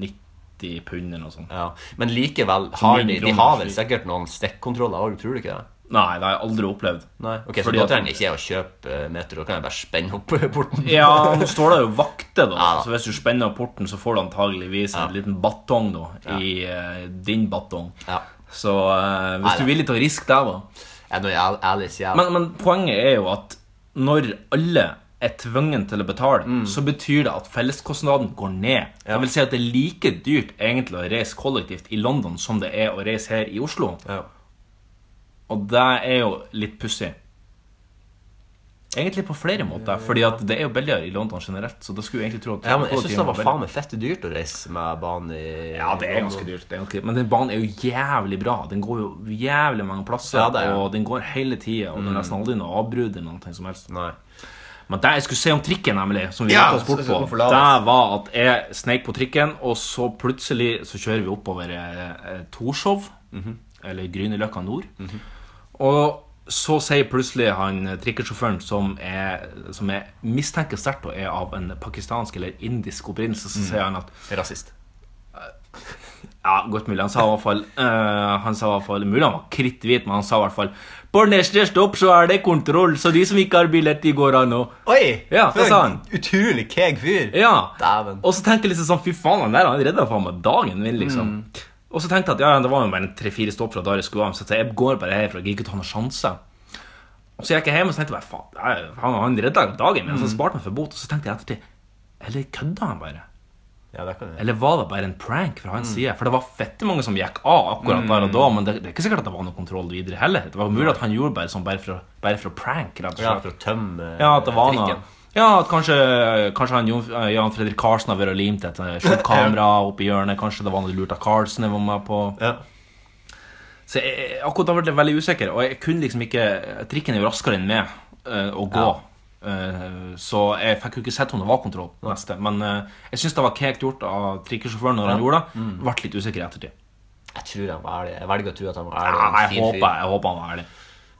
S2: 90 pund eller noe sånt.
S3: Ja. Men likevel har
S2: min
S3: de, de
S2: kroner
S3: har vel
S2: slik.
S3: sikkert noen stikkontroller òg, tror du ikke det?
S2: Nei, det har jeg aldri opplevd.
S3: Nei, ok, Så
S2: Fordi
S3: da
S2: at-
S3: trenger jeg ikke jeg å kjøpe eh, metro, da kan jeg bare spenne opp porten.
S2: Ja, nå står det jo vakter, da.
S3: Ja.
S2: Så hvis du spenner opp porten, så får du antageligvis en liten batong da, i eh, din batong.
S3: Ja.
S2: Så eh,
S3: Nei,
S2: hvis du
S3: da.
S2: er villig til å riske det, da.
S3: Jeg, når jeg, ærlig sier jeg
S2: Men, men poenget er jo at når alle er tvungen til å betale,
S3: Mm.
S2: så betyr det at felleskostnaden går ned. Det vil si at det er like dyrt egentlig å reise kollektivt i London som det er å reise her i Oslo.
S3: Ja.
S2: Og det er jo litt pussig. Egentlig på flere måter, fordi at det er jo billigere i London generelt. Så da skulle jeg egentlig tro at
S3: Ja, men jeg syns det var
S2: kollektivt-
S3: faen meg fett dyrt å reise med banen i
S2: ja, det er ganske dyrt. Det er ganske dyrt. Men den banen er jo jævlig bra. Den går jo jævlig mange plasser,
S3: Ja, det er jo.
S2: og den går hele tida. Og den er nesten aldri noe avbrudd eller noe som helst.
S3: Nei.
S2: Men det jeg skulle si om trikken, nemlig, som vi
S3: Ja,
S2: ja, oss bort
S3: så- så
S2: på,
S3: hvorfor la vi-
S2: det var at jeg sneik på trikken, og så plutselig så kjører vi oppover eh, eh, Torshov,
S3: Mhm.
S2: eller Grünerløkka nord. Og så sier plutselig han eh, trikkesjåføren, som er, som jeg mistenker sterkt og er av en pakistansk eller indisk opprinnelse,
S3: Mhm.
S2: så sier han at
S3: Rasist.
S2: ja, godt mulig. Han sa i hvert fall eh, Han sa i hvert fall Mulig han var kritthvit, men han sa i hvert fall På neste stopp så er det kontroll, så de som ikke har billett, de går av nå.
S3: Oi!
S2: Ja,
S3: for
S2: hva sa han?
S3: en Utrolig keeg fyr.
S2: Ja.
S3: Dæven.
S2: Og så tenkte jeg liksom sånn, fy faen, han der han redda faen meg dagen min, liksom.
S3: Mm.
S2: Og så tenkte jeg at ja, ja, det var jo bare en tre-fire stopp fra der jeg skulle av, så jeg går bare her, for jeg gidder ikke å ta noen sjanse. Og så gikk jeg hjem og så tenkte jeg bare, faen, det er- faen, han redda dagen min, så
S3: Mm.
S2: jeg sparte meg for bot. Og så tenkte jeg ettertid, eller kødda han bare?
S3: Ja, det kan jeg.
S2: Eller var det bare en prank fra
S3: Mm.
S2: hans side? For det var fette mange som gikk av akkurat der og da, men det, det er ikke sikkert at det var noe kontroll videre heller. Det var mulig at han gjorde bare sånn bare for, å- bare for å prank, rett og slett.
S3: Ja, for å tømme
S2: Ja, at det var noe
S3: trikken.
S2: Ja, at kanskje, kanskje han Jon, eh, Jan Fredrik Karlsen har vært og limt et eh, skjult kamera oppi hjørnet. Kanskje det var noe lurt av Karlsen jeg var med på.
S3: Ja.
S2: Så jeg, jeg- akkurat da ble jeg veldig usikker, og jeg kunne liksom ikke Trikken er jo raskere enn meg eh, å gå. Eh, så jeg fikk jo ikke sett om det var kontroll. Neste. Men eh, jeg syns det var kekt gjort av trikkesjåføren når han gjorde det.
S3: Mm.
S2: Ble litt usikker i ettertid.
S3: Jeg tror han var ærlig. Jeg velger å tro at han var
S2: Ja,
S3: ærlig. og en
S2: jeg,
S3: fin
S2: håper,
S3: fyr.
S2: jeg håper han var ærlig.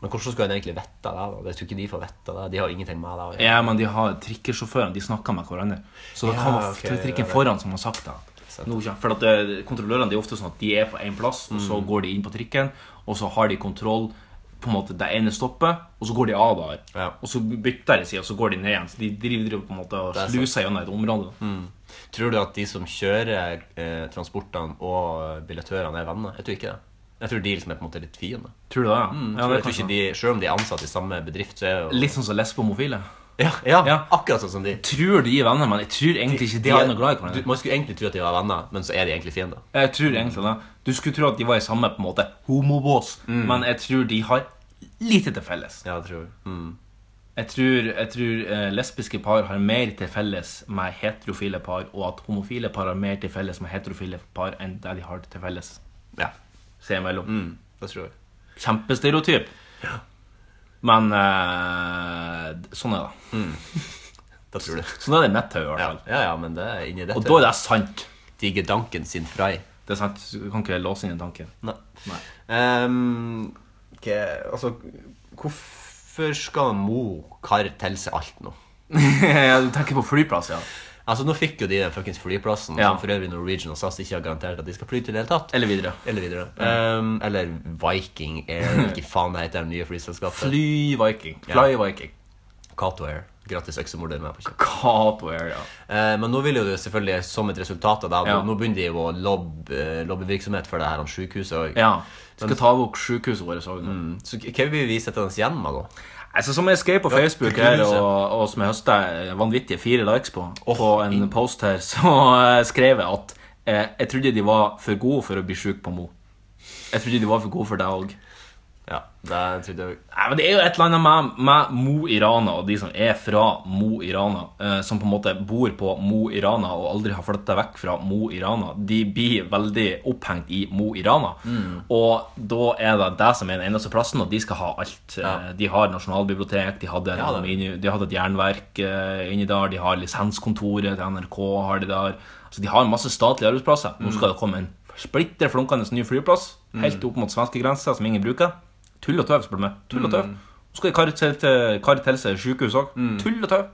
S3: Men hvordan skulle han egentlig vite det? da? Jeg tror ikke de får vite det. De har ingenting med det å gjøre.
S2: Ja, Men de har trikkesjåførene de snakker med hverandre. Så det
S3: Ja,
S2: kan være
S3: ok,
S2: trikken
S3: ja, vel.
S2: foran som har sagt det. Nå, ikke sant? for at det, Kontrollørene det er ofte sånn at de er på én plass, og så går de inn på trikken. Og så har de kontroll på en måte det ene stoppet, og så går de av der.
S3: Ja.
S2: Og så bytter de side, og så går de ned igjen. Så de driver, driver på en måte og
S3: Det er sant.
S2: sluser gjennom et område.
S3: Tror du at de som kjører eh, transportene og billettørene, er venner? Jeg tror ikke det. Jeg tror de liksom er på en måte litt fiende.
S2: Mm, Tror du det? Ja, ja
S3: Så
S2: det
S3: jeg
S2: er
S3: tror ikke
S2: kanskje
S3: de, Selv om de er ansatt i samme bedrift, så er jo
S2: Litt sånn som lesbomofile.
S3: ja, ja,
S2: Ja.
S3: akkurat sånn som de.
S2: Tror de er venner, men jeg tror egentlig ikke de, er noe glad i
S3: du,
S2: hverandre.
S3: man skulle egentlig tro at de var venner, men så er de egentlig fiender.
S2: Jeg tror egentlig det. Du skulle tro at de var i samme på en måte homobås, men jeg tror de har lite til felles.
S3: Mm. Ja, det tror jeg. Mm.
S2: Jeg tror, jeg tror eh, lesbiske par har mer til felles med heterofile par, og at homofile par har mer til felles med heterofile par enn det de har til felles
S3: Ja,
S2: seg imellom.
S3: mm, det tror jeg.
S2: Kjempestereotyp. Men eh, sånn er det.
S3: Det tror du.
S2: Sånn er det i mitt hode, i
S3: Ja.
S2: hvert fall.
S3: ja, ja, men det er inni dette.
S2: Og da er det sant.
S3: Digger danken sin frai.
S2: Det er sant, Du kan ikke låse inn en tanke.
S3: Nei.
S2: Nei.
S3: Ehm, ok, altså, hvorfor skal Mo kar til seg alt nå?
S2: Ja, du tenker på flyplass, ja.
S3: Altså, nå fikk jo de den fuckings flyplassen,
S2: Ja.
S3: som for øvrig Norwegian og SAS ikke har garantert at de skal fly til i det hele tatt.
S2: Eller videre.
S3: Eller videre. Ehm, eller Viking Air, ikke faen det heter det nye flyselskapet.
S2: Fly Viking. Fly Viking.
S3: Cato Air. Gratis øksemorder med på kjøpet.
S2: Catware, ja.
S3: Eh, Men nå vil jo det selvfølgelig som et resultat av det
S2: Ja.
S3: nå- Nå begynner de jo å lobbe, eh, lobbyvirksomhet for det her om sykehuset også.
S2: ja. Skal ta bort sykehuset vårt òg nå.
S3: Så k- hva vil vi sette oss igjen med, da?
S2: Altså, Mm. som jeg skrev på Facebook
S3: kulturhuset.
S2: her, og, og som jeg høsta vanvittige fire likes på, på en post her, så eh, skrev jeg at eh, jeg trodde de var for gode for å bli sjuke på Mo. Jeg trodde de var for gode for deg òg.
S3: Ja, det trodde jeg
S2: Nei, men Det er jo et eller annet med, med Mo i Rana og de som er fra Mo i Rana, eh, som på en måte bor på Mo i Rana og aldri har flytta vekk fra Mo i Rana. De blir veldig opphengt i Mo i Rana.
S3: Mm.
S2: Og da er det det som er den eneste plassen, og de skal ha alt. Eh,
S3: Ja.
S2: De har nasjonalbibliotek, de hadde, en
S3: Ja, det.
S2: aluminium- de hadde et jernverk eh, inni der, de har lisenskontoret til NRK har de der. Altså, de har masse statlige arbeidsplasser. Nå
S3: Mm.
S2: skal det komme en splitter flunkende ny flyplass helt opp mot svenskegrensa, som ingen bruker. Tull og tøv, spør du meg. Tull og tøv.
S3: Mm.
S2: Nå skal de karre til- til- karre til seg sykehus òg. Tull og tøv.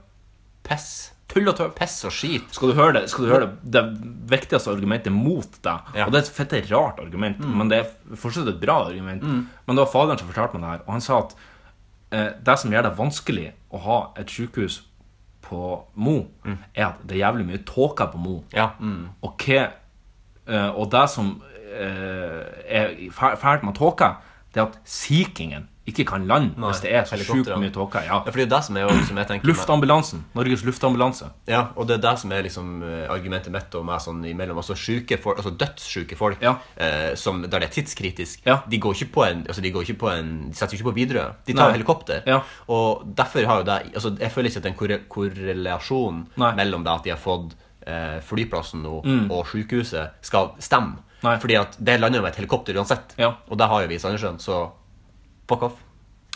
S3: Piss.
S2: Tull og tøv.
S3: Piss og skit.
S2: Skal du høre det skal du høre det, det viktigste argumentet mot deg
S3: Ja. Mm.
S2: Og det er et fette rart argument, men det er fortsatt et bra argument. Men det var faderen som fortalte meg det her, og han sa at eh, det som gjør det vanskelig å ha et sykehus på Mo, er at det er jævlig mye tåke på Mo.
S3: Mm. Ja. Mm.
S2: Og hva eh, Og det som eh, er fæ- fælt med tåke, det er at sikingen ikke kan lande
S3: Nei,
S2: hvis det er så sjukt
S3: helikopterne.
S2: mye tåke. Ja.
S3: Ja, for det er jo det som er jo, som jeg tenker med-
S2: Luftambulansen. Norges luftambulanse.
S3: Ja, og det er det som er liksom eh, argumentet mitt og meg sånn imellom. Altså, syke folk, altså dødssjuke folk
S2: Ja.
S3: eh, som, der det er tidskritisk,
S2: Ja.
S3: de går ikke på en altså, De går ikke på en De setter jo ikke på Widerøe. De tar
S2: Nei.
S3: jo helikopter.
S2: Ja.
S3: Og derfor har jo det altså, Jeg føler ikke at det er en korre korrelasjon
S2: Nei. Mm.
S3: mellom det at de har fått eh, flyplassen nå og sykehuset, skal stemme.
S2: Nei.
S3: Fordi at det lander jo med et helikopter uansett.
S2: Ja.
S3: Og det har jo vi i Sandnessjøen, så fuck off.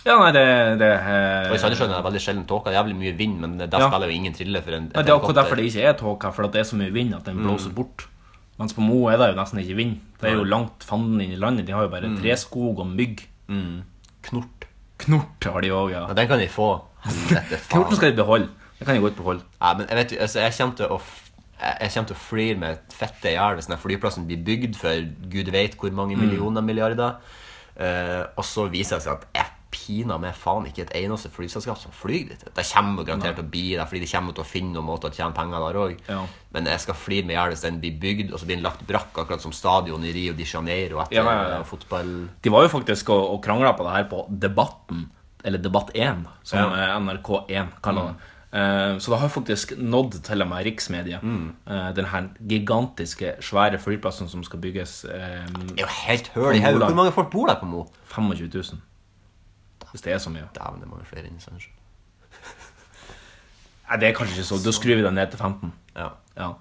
S2: Ja, nei, det, det eh,
S3: Og i Sandnessjøen er det veldig sjelden tåke. Det er jævlig mye vind, men der
S2: Ja.
S3: spiller jo ingen trille for en et
S2: Nei, Det er akkurat derfor det ikke er tåke, for at det er så mye vind at den blåser bort. Mens på Mo er det jo nesten ikke vind. Det er jo langt fanden inn i landet. De har jo bare treskog og mygg.
S3: Knort.
S2: Knort har de òg, ja.
S3: Ja, den kan de få. Helvete,
S2: Knorten
S3: faen.
S2: skal de beholde. Det kan de godt beholde.
S3: Ja, men jeg vet jo, altså, jeg kommer til å f- jeg jeg kommer til å flire med et fette i hjel hvis denne flyplassen blir bygd for gud vet hvor
S2: Mm.
S3: mange millioner milliarder. Eh, og så viser det seg at jeg piner meg faen ikke et eneste flyselskap som flyr dit. Det kommer jo garantert til å bli det, fordi de kommer til å finne noen måter å tjene penger der òg.
S2: Ja.
S3: Men jeg skal flire med i hjel hvis den blir bygd, og så blir den lagt brakk, akkurat som stadion i Rio de Janeiro etter
S2: Ja, ja, ja.
S3: eh, fotball...
S2: De var jo faktisk og, og krangla på det her på Debatten, eller Debatt 1, som eh, NRK1 kaller
S3: Mm.
S2: det. Eh, så det har faktisk nådd til og med riksmedia,
S3: Mm.
S2: eh, den her gigantiske, svære flyplassen som skal bygges eh,
S3: Det er jo helt høl i hodet. Hvor mange folk bor der på Mo?
S2: 25 000. Hvis det er så mye.
S3: Dæven, det er mange flere enn i Sandnessjøen.
S2: Nei, det er kanskje ikke så. Da skrur vi det ned til 15.
S3: Ja.
S2: Ja.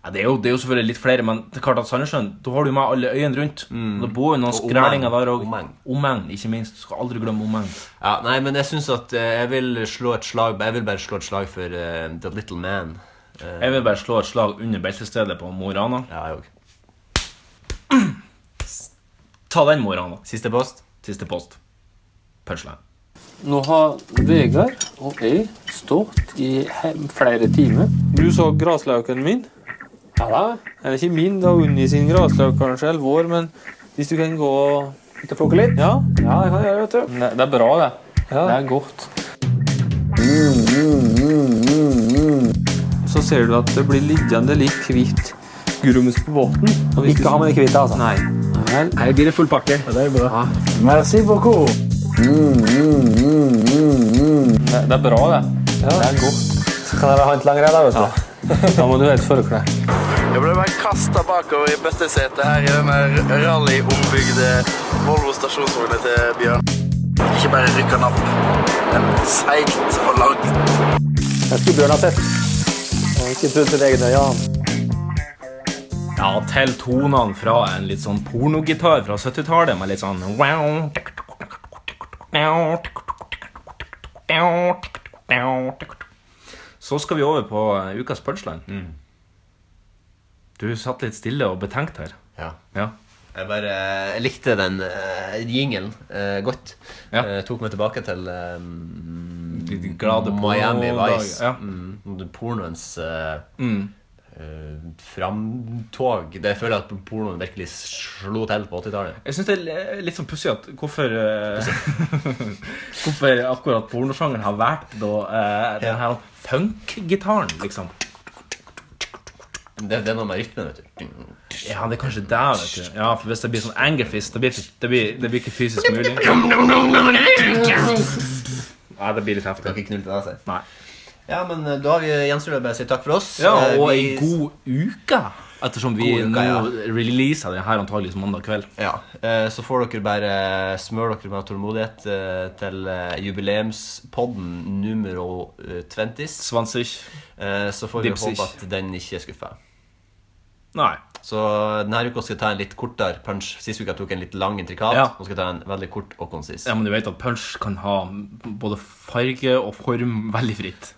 S2: Ja, det, er jo, det er jo selvfølgelig litt flere, men det er klart at Sandnessjøen Da har du jo med alle øyene rundt. Det bor jo noen
S3: Mm. Og
S2: skrælinger
S3: omegn.
S2: der òg.
S3: Omegn.
S2: Omegn, ikke minst. Du skal aldri glemme omegn.
S3: Ja, nei, men jeg synes at eh, jeg vil slå et slag Jeg vil bare slå et slag for eh, The Little Man. Eh,
S2: Jeg vil bare slå et slag under beltestedet på Mo i Rana.
S3: ja, jeg òg.
S2: Ta den, Mo i Rana.
S3: Siste post.
S2: Siste post. Punchline.
S11: Nå har Vegard og jeg stått i he- flere timer. Du så graslauken min? Ja da. Eller ikke min, da Unni sin graslauk kanskje, eller vår, men hvis du kan gå Ut og plukke litt? Ja, ja jeg kan gjøre det. Det, det er bra, det. Det er godt. Så ser du at det blir liggende litt hvitt grums på båten. Ikke ha med det hvite, altså? Nei. Her blir det full pakke. Det er bra.
S9: Merci beaucoup.
S11: Det, det er bra, det. Det er godt.
S9: Kan dere ha en lang redd, vet du?
S11: Da må du ha et forkle.
S9: Jeg ble bare kasta bakover i bøttesetet her i denne rally-ombygde Volvo stasjonsvogna til Bjørn. Ikke bare rykka den opp, men seigt og langt.
S11: Jeg skulle Bjørn ha sett. Og ikke trodd sitt eget øye. Ja.
S2: Ja, til tonene fra en litt sånn pornogitar fra 70-tallet med litt sånn wow. Så skal vi over på eh, ukas punchline.
S3: Mm.
S2: Du satt litt stille og betenkt her.
S3: Ja.
S2: Ja.
S3: Jeg bare eh, jeg likte den uh, jingelen eh, godt.
S2: Ja.
S3: Eh, tok meg tilbake til eh,
S2: Litt glade
S3: Miami
S2: pornodager.
S3: Vice.
S2: Ja. Mm.
S3: Mm, pornoens eh, eh, framtog. Det jeg føler at pornoen virkelig slo til på 80-tallet.
S2: Jeg syns det er li- litt sånn pussig at hvorfor eh, Hvorfor akkurat pornosjangeren har valgt da eh, den her funk-gitaren, liksom.
S3: Det, det er noe med rytmen, vet du.
S2: Ja, det er kanskje der, vet du. Ja, for hvis det blir sånn angerfist, det blir, det blir, det blir ikke fysisk mulig. Nei, det blir litt
S3: Skal
S2: heftig.
S3: ikke knulle til deg, si.
S2: Nei.
S3: eh, Ja, men eh, da har vi- gjenstår det bare å si takk for oss.
S2: Ja,
S3: Eh,
S2: og
S3: vi-
S2: ei god uke. Ettersom vi
S3: God uke,
S2: nå
S3: ja.
S2: releaser den her antageligvis mandag kveld.
S3: Ja, eh, Så får dere bare smøre dere med tålmodighet eh, til eh, jubileumspodden numero eh, 20. Eh, Så får vi
S2: Dipsig.
S3: håpe at den ikke skuffer.
S2: Nei.
S3: Så denne uka skal jeg ta en litt kortere punch. Sist uke tok jeg en litt lang intrikat.
S2: Ja.
S3: Nå skal jeg ta en veldig kort og konsis.
S2: Ja, men du vet at punch kan ha både farge og form veldig fritt.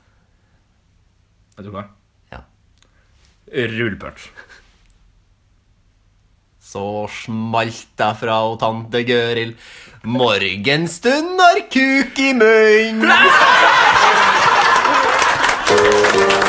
S2: Er du klar?
S3: Ja.
S2: Rull punch.
S3: Så smalt det fra og tante Gøril. Morgenstund har kuk i munn.